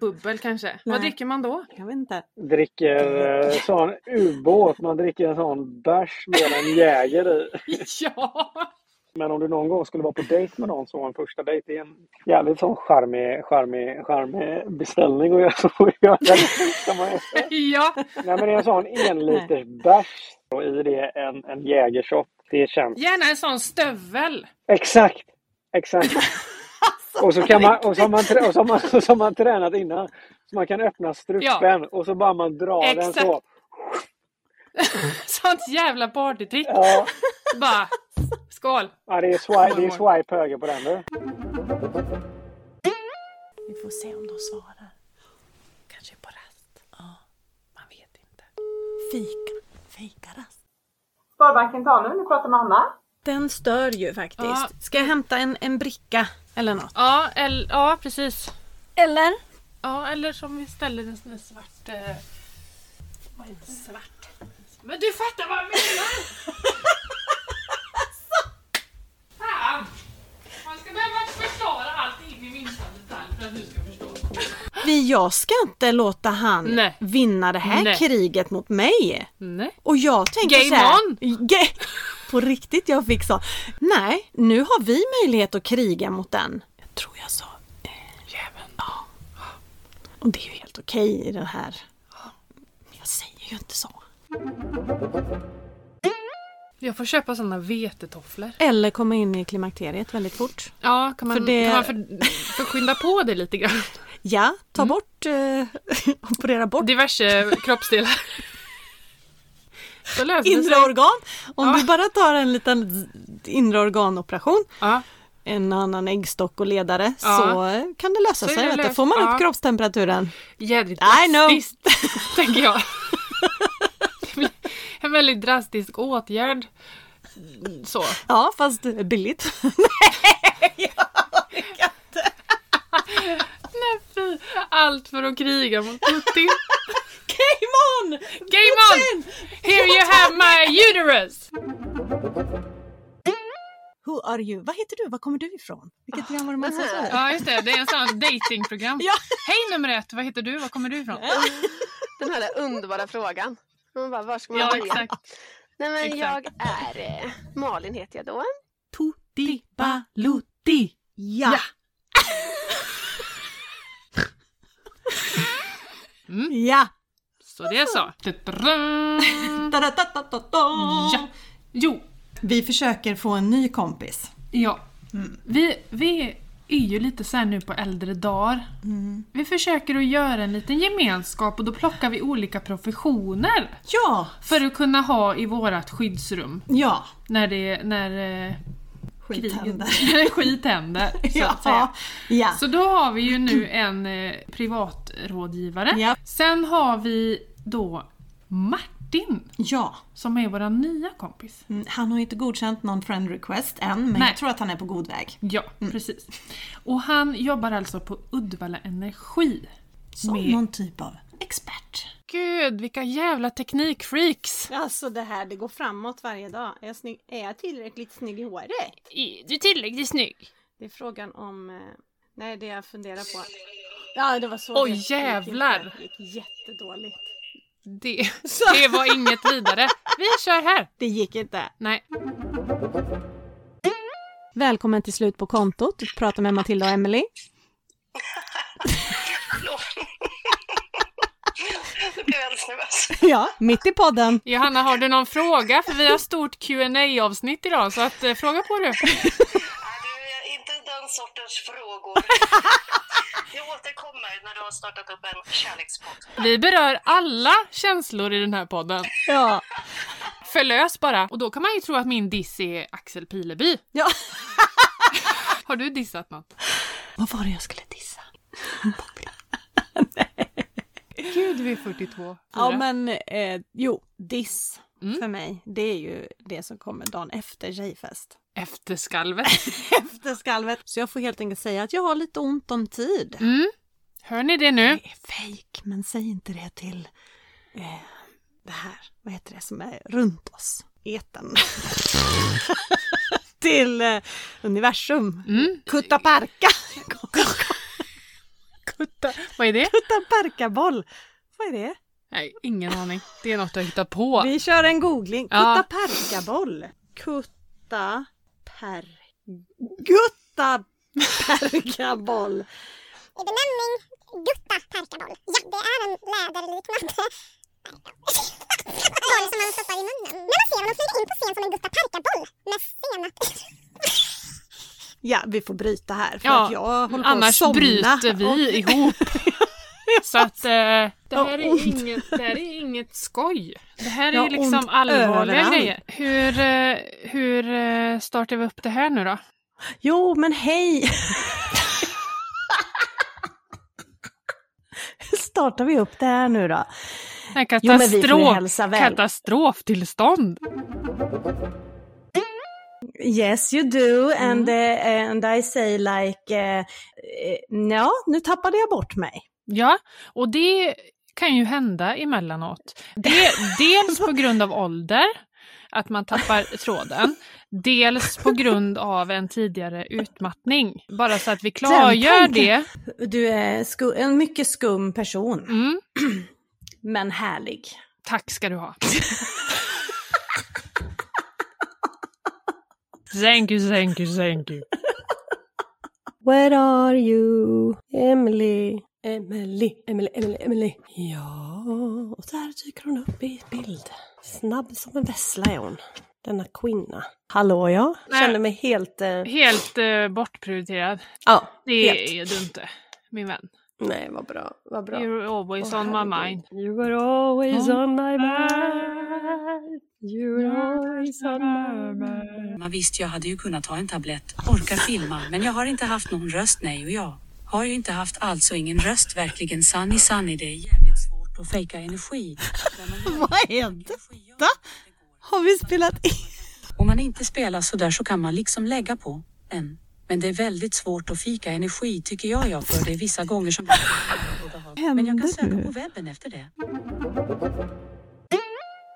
Speaker 1: bubbel kanske. Vad
Speaker 2: Nej.
Speaker 1: dricker man då?
Speaker 2: Jag vet inte.
Speaker 9: Dricker eh, sån ubåt, man dricker en sån bärs med en jäger i.
Speaker 1: Ja!
Speaker 9: Men om du någon gång skulle vara på dejt med någon så var en första dejt det är en jävligt sån charmig, charmig, charmig beställning att göra. Så får jag göra det. Kan man göra.
Speaker 1: ja!
Speaker 9: Nej men det är en sån enliters bärs och i det en, en jägershot. Det känns...
Speaker 1: Gärna en sån stövel.
Speaker 9: Exakt! Exakt! Och så, kan man, och, så har man, trä- och, så har man, och så har man tränat innan. Så man kan öppna strupen och så bara man drar den så.
Speaker 1: Exakt. Sånt jävla partytrick.
Speaker 9: Ja,
Speaker 1: Bara, skål!
Speaker 9: ja, det är swipe, det är swipe höger på den du.
Speaker 2: Vi får se om de svarar. Kanske på rast. Ja, man vet inte. Fika. Fikarast.
Speaker 10: Sparbanken Tanum, du pratar med Anna.
Speaker 2: Den stör ju faktiskt.
Speaker 1: Ja.
Speaker 2: Ska jag hämta en, en bricka eller något?
Speaker 1: Ja, el- ja precis.
Speaker 3: Eller?
Speaker 1: Ja, eller som vi ställer en sån här svart... Eh, vad är det? Svart? Men du fattar vad jag menar! Fan! Man ska behöva förklara allting i minsta detalj för att du ska förstå.
Speaker 2: Vi, jag ska inte låta han
Speaker 1: Nej.
Speaker 2: vinna det här
Speaker 1: Nej.
Speaker 2: kriget mot mig.
Speaker 1: Nej.
Speaker 2: Och jag tänker
Speaker 1: Game
Speaker 2: så här,
Speaker 1: on!
Speaker 2: Ge- På riktigt, jag fick så. Nej, nu har vi möjlighet att kriga mot den. Jag tror jag sa... Eh, Jäveln. Ja. Och det är ju helt okej i den här... Jag säger ju inte så.
Speaker 1: Jag får köpa såna vetetofflor.
Speaker 2: Eller komma in i klimakteriet väldigt fort.
Speaker 1: Ja, kan man,
Speaker 2: För det-
Speaker 1: kan man för, förskynda på det lite grann?
Speaker 2: Ja, ta
Speaker 1: Mm.
Speaker 2: bort... Eh, operera bort
Speaker 1: Diverse kroppsdelar. Så löser det
Speaker 2: inre
Speaker 1: sig.
Speaker 2: organ. Om
Speaker 1: Ja.
Speaker 2: du bara tar en liten z- inre organoperation,
Speaker 1: Ja.
Speaker 2: en annan äggstock och ledare,
Speaker 1: Ja.
Speaker 2: så eh, kan det lösa
Speaker 1: Så är
Speaker 2: sig.
Speaker 1: det
Speaker 2: vet du.
Speaker 1: löst.
Speaker 2: får man upp
Speaker 1: Ja.
Speaker 2: kroppstemperaturen.
Speaker 1: Jädrigt
Speaker 2: I know.
Speaker 1: drastiskt, tänker jag. Det blir en väldigt drastisk åtgärd. Så.
Speaker 2: Ja, fast billigt.
Speaker 1: Nej, fy. Allt för att kriga mot Putin.
Speaker 2: Game on!
Speaker 1: Game on! Here you have my uterus!
Speaker 2: Who are you? Vad heter du? Var kommer du ifrån? Vilket program var det man sa så här?
Speaker 1: Ja, just det. Det är en sån datingprogram.
Speaker 2: Ja.
Speaker 1: Hej nummer ett, vad heter du? Var kommer du ifrån?
Speaker 11: Den här där underbara frågan. Man bara, var ska man
Speaker 1: Ja,
Speaker 11: börja?
Speaker 1: exakt.
Speaker 11: Nej men
Speaker 1: exakt.
Speaker 11: jag är... Eh, Malin heter jag då.
Speaker 2: To
Speaker 1: Lutti Balutti.
Speaker 2: Ja!
Speaker 1: Ja.
Speaker 2: Ja!
Speaker 1: Mm.
Speaker 2: ja.
Speaker 1: Så det är så. Ta-da-da.
Speaker 5: Ta-da-ta-ta-ta-ta.
Speaker 1: Ja. Jo,
Speaker 5: Vi försöker få en ny kompis.
Speaker 1: ja.
Speaker 5: Mm.
Speaker 1: Vi, vi är ju lite så här nu på äldre dagar.
Speaker 2: Mm.
Speaker 1: Vi försöker att göra en liten gemenskap och då plockar vi olika professioner.
Speaker 5: Ja,
Speaker 1: För att kunna ha i vårat skyddsrum
Speaker 5: ja.
Speaker 1: när det när eh,
Speaker 5: Skit händer.
Speaker 1: kriget, skit händer. Så att säga.
Speaker 5: Ja, ja.
Speaker 1: Så då har vi ju nu en eh, privatrådgivare.
Speaker 5: Ja.
Speaker 1: Sen har vi då Martin
Speaker 5: ja.
Speaker 1: som är vår nya kompis.
Speaker 5: Mm, Han har ju inte godkänt någon friend request än, men
Speaker 1: Nej.
Speaker 5: jag tror att han är på god väg.
Speaker 1: Ja, precis. Och han jobbar alltså på Uddevalla Energi.
Speaker 5: Som
Speaker 1: Med-
Speaker 5: någon typ av expert.
Speaker 1: Gud, vilka jävla teknikfreaks!
Speaker 2: Alltså det här, det går framåt varje dag. Är jag, snygg, är jag tillräckligt snygg i håret?
Speaker 6: Du är tillräckligt snygg.
Speaker 2: Det är frågan om... eh, Nej, det jag funderar på. Ja, det var så.
Speaker 1: Oj,
Speaker 2: det gick inte.
Speaker 1: jävlar.
Speaker 2: Det gick jättedåligt.
Speaker 1: Det, det var inget vidare. Vi kör här!
Speaker 2: Det gick inte.
Speaker 1: Nej.
Speaker 2: Välkommen till slut på kontot. Du pratar med Matilda och Emily.
Speaker 11: Nu blev jag alldeles nervös.
Speaker 2: Ja, mitt i podden.
Speaker 1: Johanna, har du någon fråga? För vi har stort qa avsnitt idag, så att, eh, fråga på du.
Speaker 11: Nej, du, jag- inte den sortens frågor. Jag återkommer när du har startat upp en kärlekspodd.
Speaker 1: Vi berör alla känslor i den här podden.
Speaker 2: Ja.
Speaker 1: Förlös bara. Och då kan man ju tro att min diss är Axel Pileby.
Speaker 2: Ja.
Speaker 1: Har du dissat något?
Speaker 5: Vad var det jag skulle dissa?
Speaker 1: Gud, vi är 42.
Speaker 2: Ja men eh, jo, diss
Speaker 1: Mm.
Speaker 2: för mig. Det är ju det som kommer dagen efter tjejfest.
Speaker 1: Efterskalvet.
Speaker 2: Efter skalvet. Så jag får helt enkelt säga att jag har lite ont om tid.
Speaker 1: Mm. Hör ni det nu?
Speaker 2: Det är fejk, men säg inte det till eh, det här, vad heter det som är runt oss? Eten. till eh, universum.
Speaker 1: Mm.
Speaker 2: Kuttaparka!
Speaker 1: Kutta. Vad är det?
Speaker 2: Kuttaparka-boll! Vad är det?
Speaker 1: Nej, ingen aning. Det är något jag hittar på.
Speaker 2: Vi kör en googling.
Speaker 1: Ja.
Speaker 2: Kuttaperkaboll. Kuttaper... Guttaperkaboll.
Speaker 4: i benämning gutta perkaboll. Ja, det är en läderliknande boll som man stoppar i munnen. När man ser honom flyga in på scen som en gutta perkaboll med senap.
Speaker 2: Ja, vi får bryta här för
Speaker 1: Ja,
Speaker 2: att jag håller på att
Speaker 1: Annars
Speaker 2: somna.
Speaker 1: bryter vi
Speaker 2: Och-
Speaker 1: ihop. Så att eh, det, här
Speaker 2: ont.
Speaker 1: är inget, det här är inget skoj. Det här
Speaker 2: Jag
Speaker 1: är
Speaker 2: har
Speaker 1: liksom
Speaker 2: ont
Speaker 1: allvarliga
Speaker 2: överallt.
Speaker 1: grejer. Hur, eh, hur eh, startar vi upp det här nu då?
Speaker 2: Jo, men hej! Startar vi upp det här nu då?
Speaker 1: Nej,
Speaker 2: Jo, men vi får ju
Speaker 1: katastrof,
Speaker 2: hälsa väl.
Speaker 1: katastroftillstånd.
Speaker 2: Yes you do
Speaker 3: Mm.
Speaker 2: and, eh, and I say like, eh, eh, ja nu tappade jag bort mig.
Speaker 1: Ja, och det kan ju hända emellanåt. Det, dels på grund av ålder, att man tappar tråden. Dels på grund av en tidigare utmattning. Bara så att vi klargör
Speaker 2: tanken.
Speaker 1: det.
Speaker 2: Du är sku- en mycket skum person,
Speaker 1: Mm.
Speaker 2: men härlig.
Speaker 1: Tack ska du ha. Thank you, thank you, thank you.
Speaker 3: Where are you? Emily. Emily, Emily, Emily, Emily. Ja, och där dyker hon upp i bild. Snabb som en vessla är hon. Denna kvinna. Hallå ja,
Speaker 1: Nej.
Speaker 3: känner mig helt... Eh...
Speaker 1: Helt eh, bortprioriterad.
Speaker 3: Ja,
Speaker 1: Det
Speaker 3: helt.
Speaker 1: är du inte, min vän.
Speaker 3: Nej, vad bra, vad bra.
Speaker 1: You're always
Speaker 3: Åh,
Speaker 1: on my
Speaker 3: herregud.
Speaker 1: mind.
Speaker 3: You were always
Speaker 1: On
Speaker 3: on my mind. You were always on my mind.
Speaker 12: Men Visst, jag hade ju kunnat ta en tablett, orkar filma, men jag har inte haft någon röst, nej och jag har ju inte haft alltså ingen röst, verkligen Sunny Sunny, det är jävligt svårt att fejka energi.
Speaker 2: Vad är detta? Har vi spelat in?
Speaker 12: Om man inte spelar sådär så kan man liksom lägga på en. Men det är väldigt svårt att fika energi tycker jag, jag för det är vissa gånger som... Men jag kan söka på webben efter det.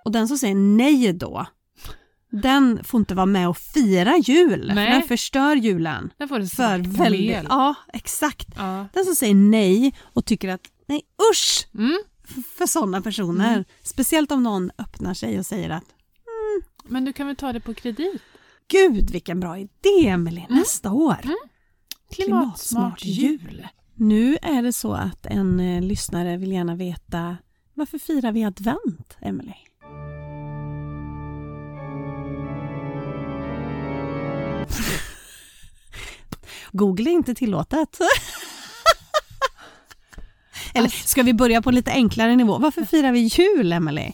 Speaker 2: Och den som säger nej då, den får inte vara med och fira jul. för
Speaker 1: Nej.
Speaker 2: Den förstör julen.
Speaker 1: Där får du
Speaker 2: För
Speaker 1: svart
Speaker 2: väldigt,
Speaker 1: mel.
Speaker 2: ja exakt.
Speaker 1: Ja.
Speaker 2: Den som säger nej och tycker att nej usch
Speaker 1: Mm.
Speaker 2: f- för sådana personer.
Speaker 3: Mm.
Speaker 2: Speciellt om någon öppnar sig och säger att
Speaker 1: Men du kan väl ta det på kredit?
Speaker 2: gud vilken bra idé Emelie,
Speaker 3: Mm.
Speaker 2: nästa år!
Speaker 1: Klimatsmart jul.
Speaker 2: Nu är det så att en eh, lyssnare vill gärna veta varför firar vi advent, Emelie? Google är inte tillåtet. Eller
Speaker 1: Alltså-
Speaker 2: ska vi börja på en lite enklare nivå? Varför firar vi jul, Emelie?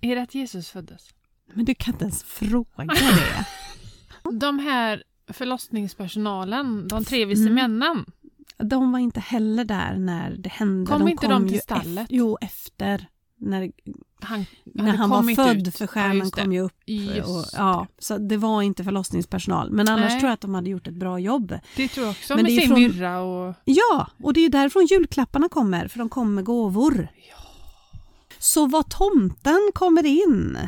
Speaker 1: Är det att Jesus föddes?
Speaker 2: Men du kan inte ens fråga det.
Speaker 1: De här förlossningspersonalen, de tre vise
Speaker 2: Mm.
Speaker 1: männen.
Speaker 2: De var inte heller där när det hände.
Speaker 1: Kom inte de till
Speaker 2: ju ef-
Speaker 1: stallet?
Speaker 2: Jo, efter. När,
Speaker 1: Han,
Speaker 2: när han var
Speaker 1: kommit
Speaker 2: född,
Speaker 1: ut.
Speaker 2: för stjärnan
Speaker 1: just det.
Speaker 2: kom ju upp.
Speaker 1: Just
Speaker 2: och, ja, så det var inte förlossningspersonal. Men annars
Speaker 1: Nej.
Speaker 2: tror jag att de hade gjort ett bra jobb.
Speaker 1: Det tror jag också,
Speaker 2: Men
Speaker 1: med
Speaker 2: det är
Speaker 1: sin
Speaker 2: från-
Speaker 1: myrra och...
Speaker 2: Ja, och det är ju därifrån julklapparna kommer, för de kommer med gåvor. Så var tomten kommer in,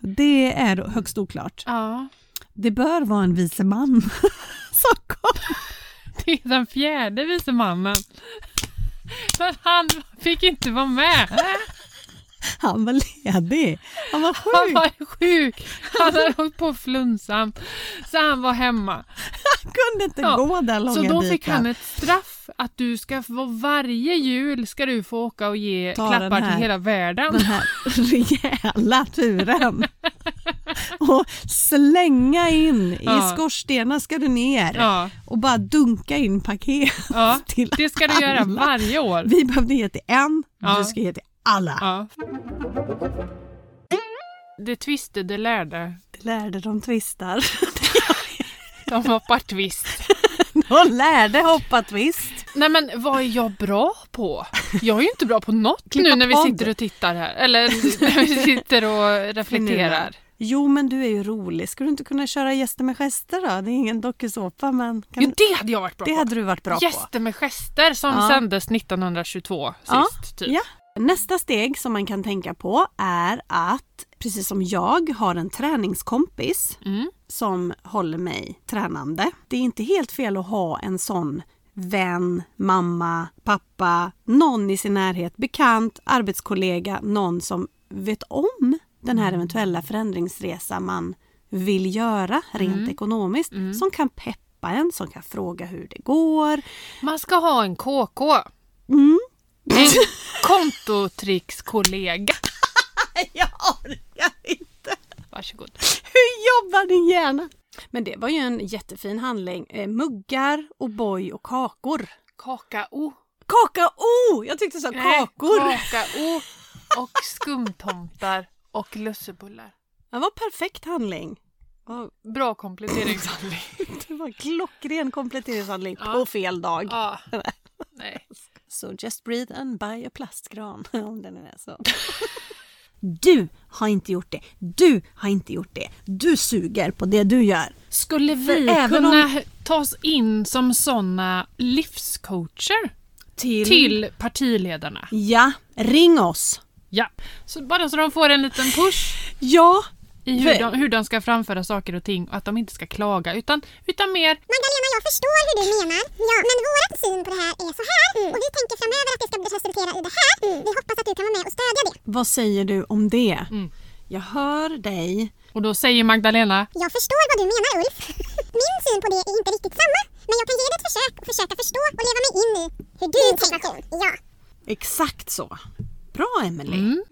Speaker 2: det är högst oklart.
Speaker 1: Ja,
Speaker 2: Det bör vara en vise man som kom.
Speaker 1: det är den fjärde vise mannen. Men han fick inte vara med.
Speaker 2: Han var ledig, han var
Speaker 1: Han
Speaker 2: sjuk.
Speaker 1: var sjuk. Han hade hållit på flunsan. Så han var hemma.
Speaker 2: Han kunde inte
Speaker 1: Ja,
Speaker 2: gå den långa
Speaker 1: Så då fick
Speaker 2: biten.
Speaker 1: han ett straff att du ska få varje jul ska du få åka och ge
Speaker 2: Ta den
Speaker 1: klappar
Speaker 2: här.
Speaker 1: till hela världen.
Speaker 2: den här rejäla turen. Och slänga in,
Speaker 1: Ja.
Speaker 2: i skorstenar ska du ner
Speaker 1: Ja.
Speaker 2: och bara dunka in paket.
Speaker 1: Ja,
Speaker 2: till
Speaker 1: det ska du göra
Speaker 2: alla.
Speaker 1: varje år.
Speaker 2: Vi behövde ge till en,
Speaker 1: Ja.
Speaker 2: du ska ge till alla.
Speaker 1: Ja. Det tvistade lärde.
Speaker 2: Det lärde de tvistar.
Speaker 1: De hoppar tvist.
Speaker 2: De lärde hoppa twist.
Speaker 1: Nej men vad är jag bra på? Jag är ju inte bra på något
Speaker 2: Klippa
Speaker 1: nu när vi
Speaker 2: podd.
Speaker 1: sitter och tittar här. Eller när vi sitter och reflekterar.
Speaker 2: Jo men du är ju rolig, skulle du inte kunna köra Gäster med gester då? Det är ingen dokusåpa men kan...
Speaker 1: Jo, det hade jag varit bra
Speaker 2: det
Speaker 1: på.
Speaker 2: hade du varit bra på.
Speaker 1: Gäster med gester som
Speaker 2: Ja.
Speaker 1: sändes 1922 sist.
Speaker 2: Ja,
Speaker 1: Typ.
Speaker 2: Ja. Nästa steg som man kan tänka på är att precis som jag har en träningskompis
Speaker 1: Mm.
Speaker 2: som håller mig tränande. Det är inte helt fel att ha en sån vän, mamma, pappa, någon i sin närhet, bekant, arbetskollega, någon som vet om den här
Speaker 1: Mm.
Speaker 2: eventuella förändringsresa man vill göra rent ekonomiskt, som kan peppa en, som kan fråga hur det går.
Speaker 1: Man ska ha en KK.
Speaker 2: Mm.
Speaker 1: En kontotrickskollega.
Speaker 2: Jag orkar inte!
Speaker 1: Varsågod.
Speaker 2: Hur jobbar din hjärna? Men det var ju en jättefin handling. Eh, muggar, O'boy och kakor.
Speaker 1: Kakao.
Speaker 2: Kakao! Jag tyckte du sa
Speaker 1: Nej,
Speaker 2: kakor.
Speaker 1: Kakao och skumtomtar och lussebullar.
Speaker 2: Det var perfekt handling. Vad-
Speaker 1: Bra kompletteringshandling.
Speaker 2: Det var klockren kompletteringshandling
Speaker 1: Ja.
Speaker 2: på fel dag.
Speaker 1: Ja. Nej.
Speaker 2: So just breathe and buy a plastgran. Om den är så. Du har inte gjort det. Du har inte gjort det. Du suger på det du gör.
Speaker 1: Skulle vi
Speaker 2: För även
Speaker 1: kunna ta oss in som såna livscoacher till partiledarna?
Speaker 2: Ja, ring oss.
Speaker 1: Ja, så bara så de får en liten push
Speaker 2: Ja,
Speaker 1: i
Speaker 2: För-
Speaker 1: hur de, hur de ska framföra saker och ting och att de inte ska klaga utan, utan mer
Speaker 4: Magdalena, jag förstår hur du menar. Ja. Mm. Men vår syn på det här är så här. Och vi tänker framöver att det ska resultera i det här. Vi hoppas att du kan vara med och stödja det.
Speaker 2: Vad säger du om det?
Speaker 1: Mm.
Speaker 2: Jag hör dig.
Speaker 1: och då säger Magdalena
Speaker 4: Jag förstår vad du menar Ulf. Min syn på det är inte riktigt samma. Men jag kan ge det ett försök och försöka förstå och leva mig in i hur du tänker. Ja.
Speaker 2: Exakt så. Bra, Emelie.
Speaker 1: mm,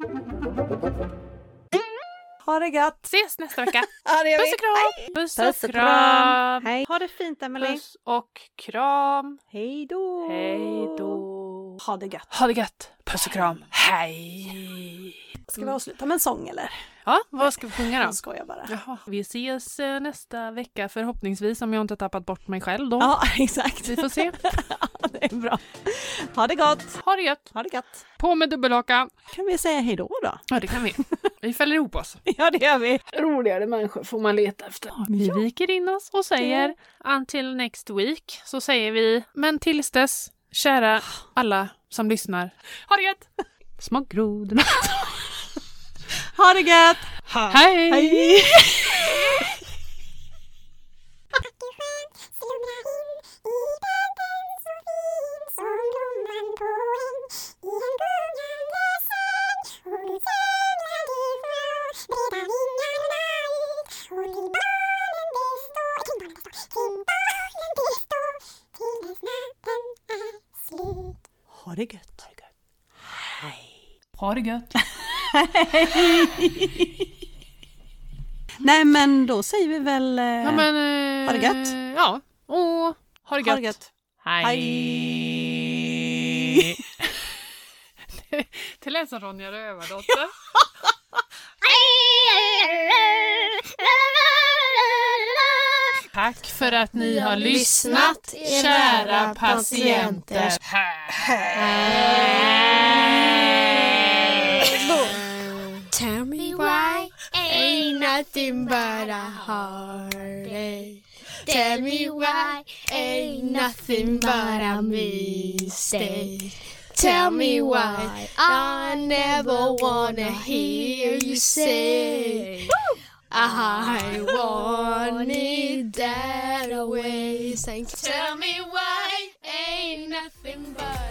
Speaker 3: Ha det gött!
Speaker 1: ses nästa vecka.
Speaker 3: Ja, det gör
Speaker 1: Puss
Speaker 3: vi.
Speaker 1: och kram! Puss
Speaker 3: Puss
Speaker 1: och
Speaker 3: och kram!
Speaker 1: kram!
Speaker 3: Hej! Ha det fint Emelie!
Speaker 1: Puss och kram!
Speaker 3: Hej då!
Speaker 1: Hej då!
Speaker 3: Ha det gött!
Speaker 1: Ha det gött! Puss och kram! Hej!
Speaker 3: Ska vi avsluta med en sång eller?
Speaker 1: Ja, vad ska vi sjunga då?
Speaker 3: Jag skojar bara.
Speaker 1: Jaha. Vi ses eh, nästa vecka förhoppningsvis om jag inte tappat bort mig själv då.
Speaker 3: Ja, exakt.
Speaker 1: Vi får se.
Speaker 3: det är bra. Ha det gott!
Speaker 1: Ha det gött!
Speaker 3: Ha det gött!
Speaker 1: På med dubbelhakan!
Speaker 3: Kan vi säga hej då då?
Speaker 1: Ja, det kan vi. Vi fäller ihop oss.
Speaker 3: Ja, det gör vi!
Speaker 1: Roligare människor får man leta efter. Vi viker in oss och säger until next week så säger vi men tills dess kära alla som lyssnar. Ha det gött! Små grodorna.
Speaker 2: Ha det gött!
Speaker 1: Hej!
Speaker 2: Hej!
Speaker 4: Slumra in i världen så fin som blomman på en i en gungande säng. Hon vill segla ifrån breda vingarna ut. Hon vill barnen det
Speaker 2: det gött.
Speaker 1: Ha det gött!
Speaker 2: Nej men då säger vi väl eh,
Speaker 1: Ja, men, eh,
Speaker 2: ha det gött.
Speaker 1: Ja, och ha det gött.
Speaker 2: Ha det gött.
Speaker 1: Hej!
Speaker 2: Hej.
Speaker 1: Det- det lät som Ronja Rövardotter. Tack för att ni har lyssnat, kära patienter.
Speaker 6: Tell me why ain't nothing but a heartache. Tell me why ain't nothing but a mistake. Tell me why I never wanna hear you say. I wanted that away. Tell me why ain't nothing but.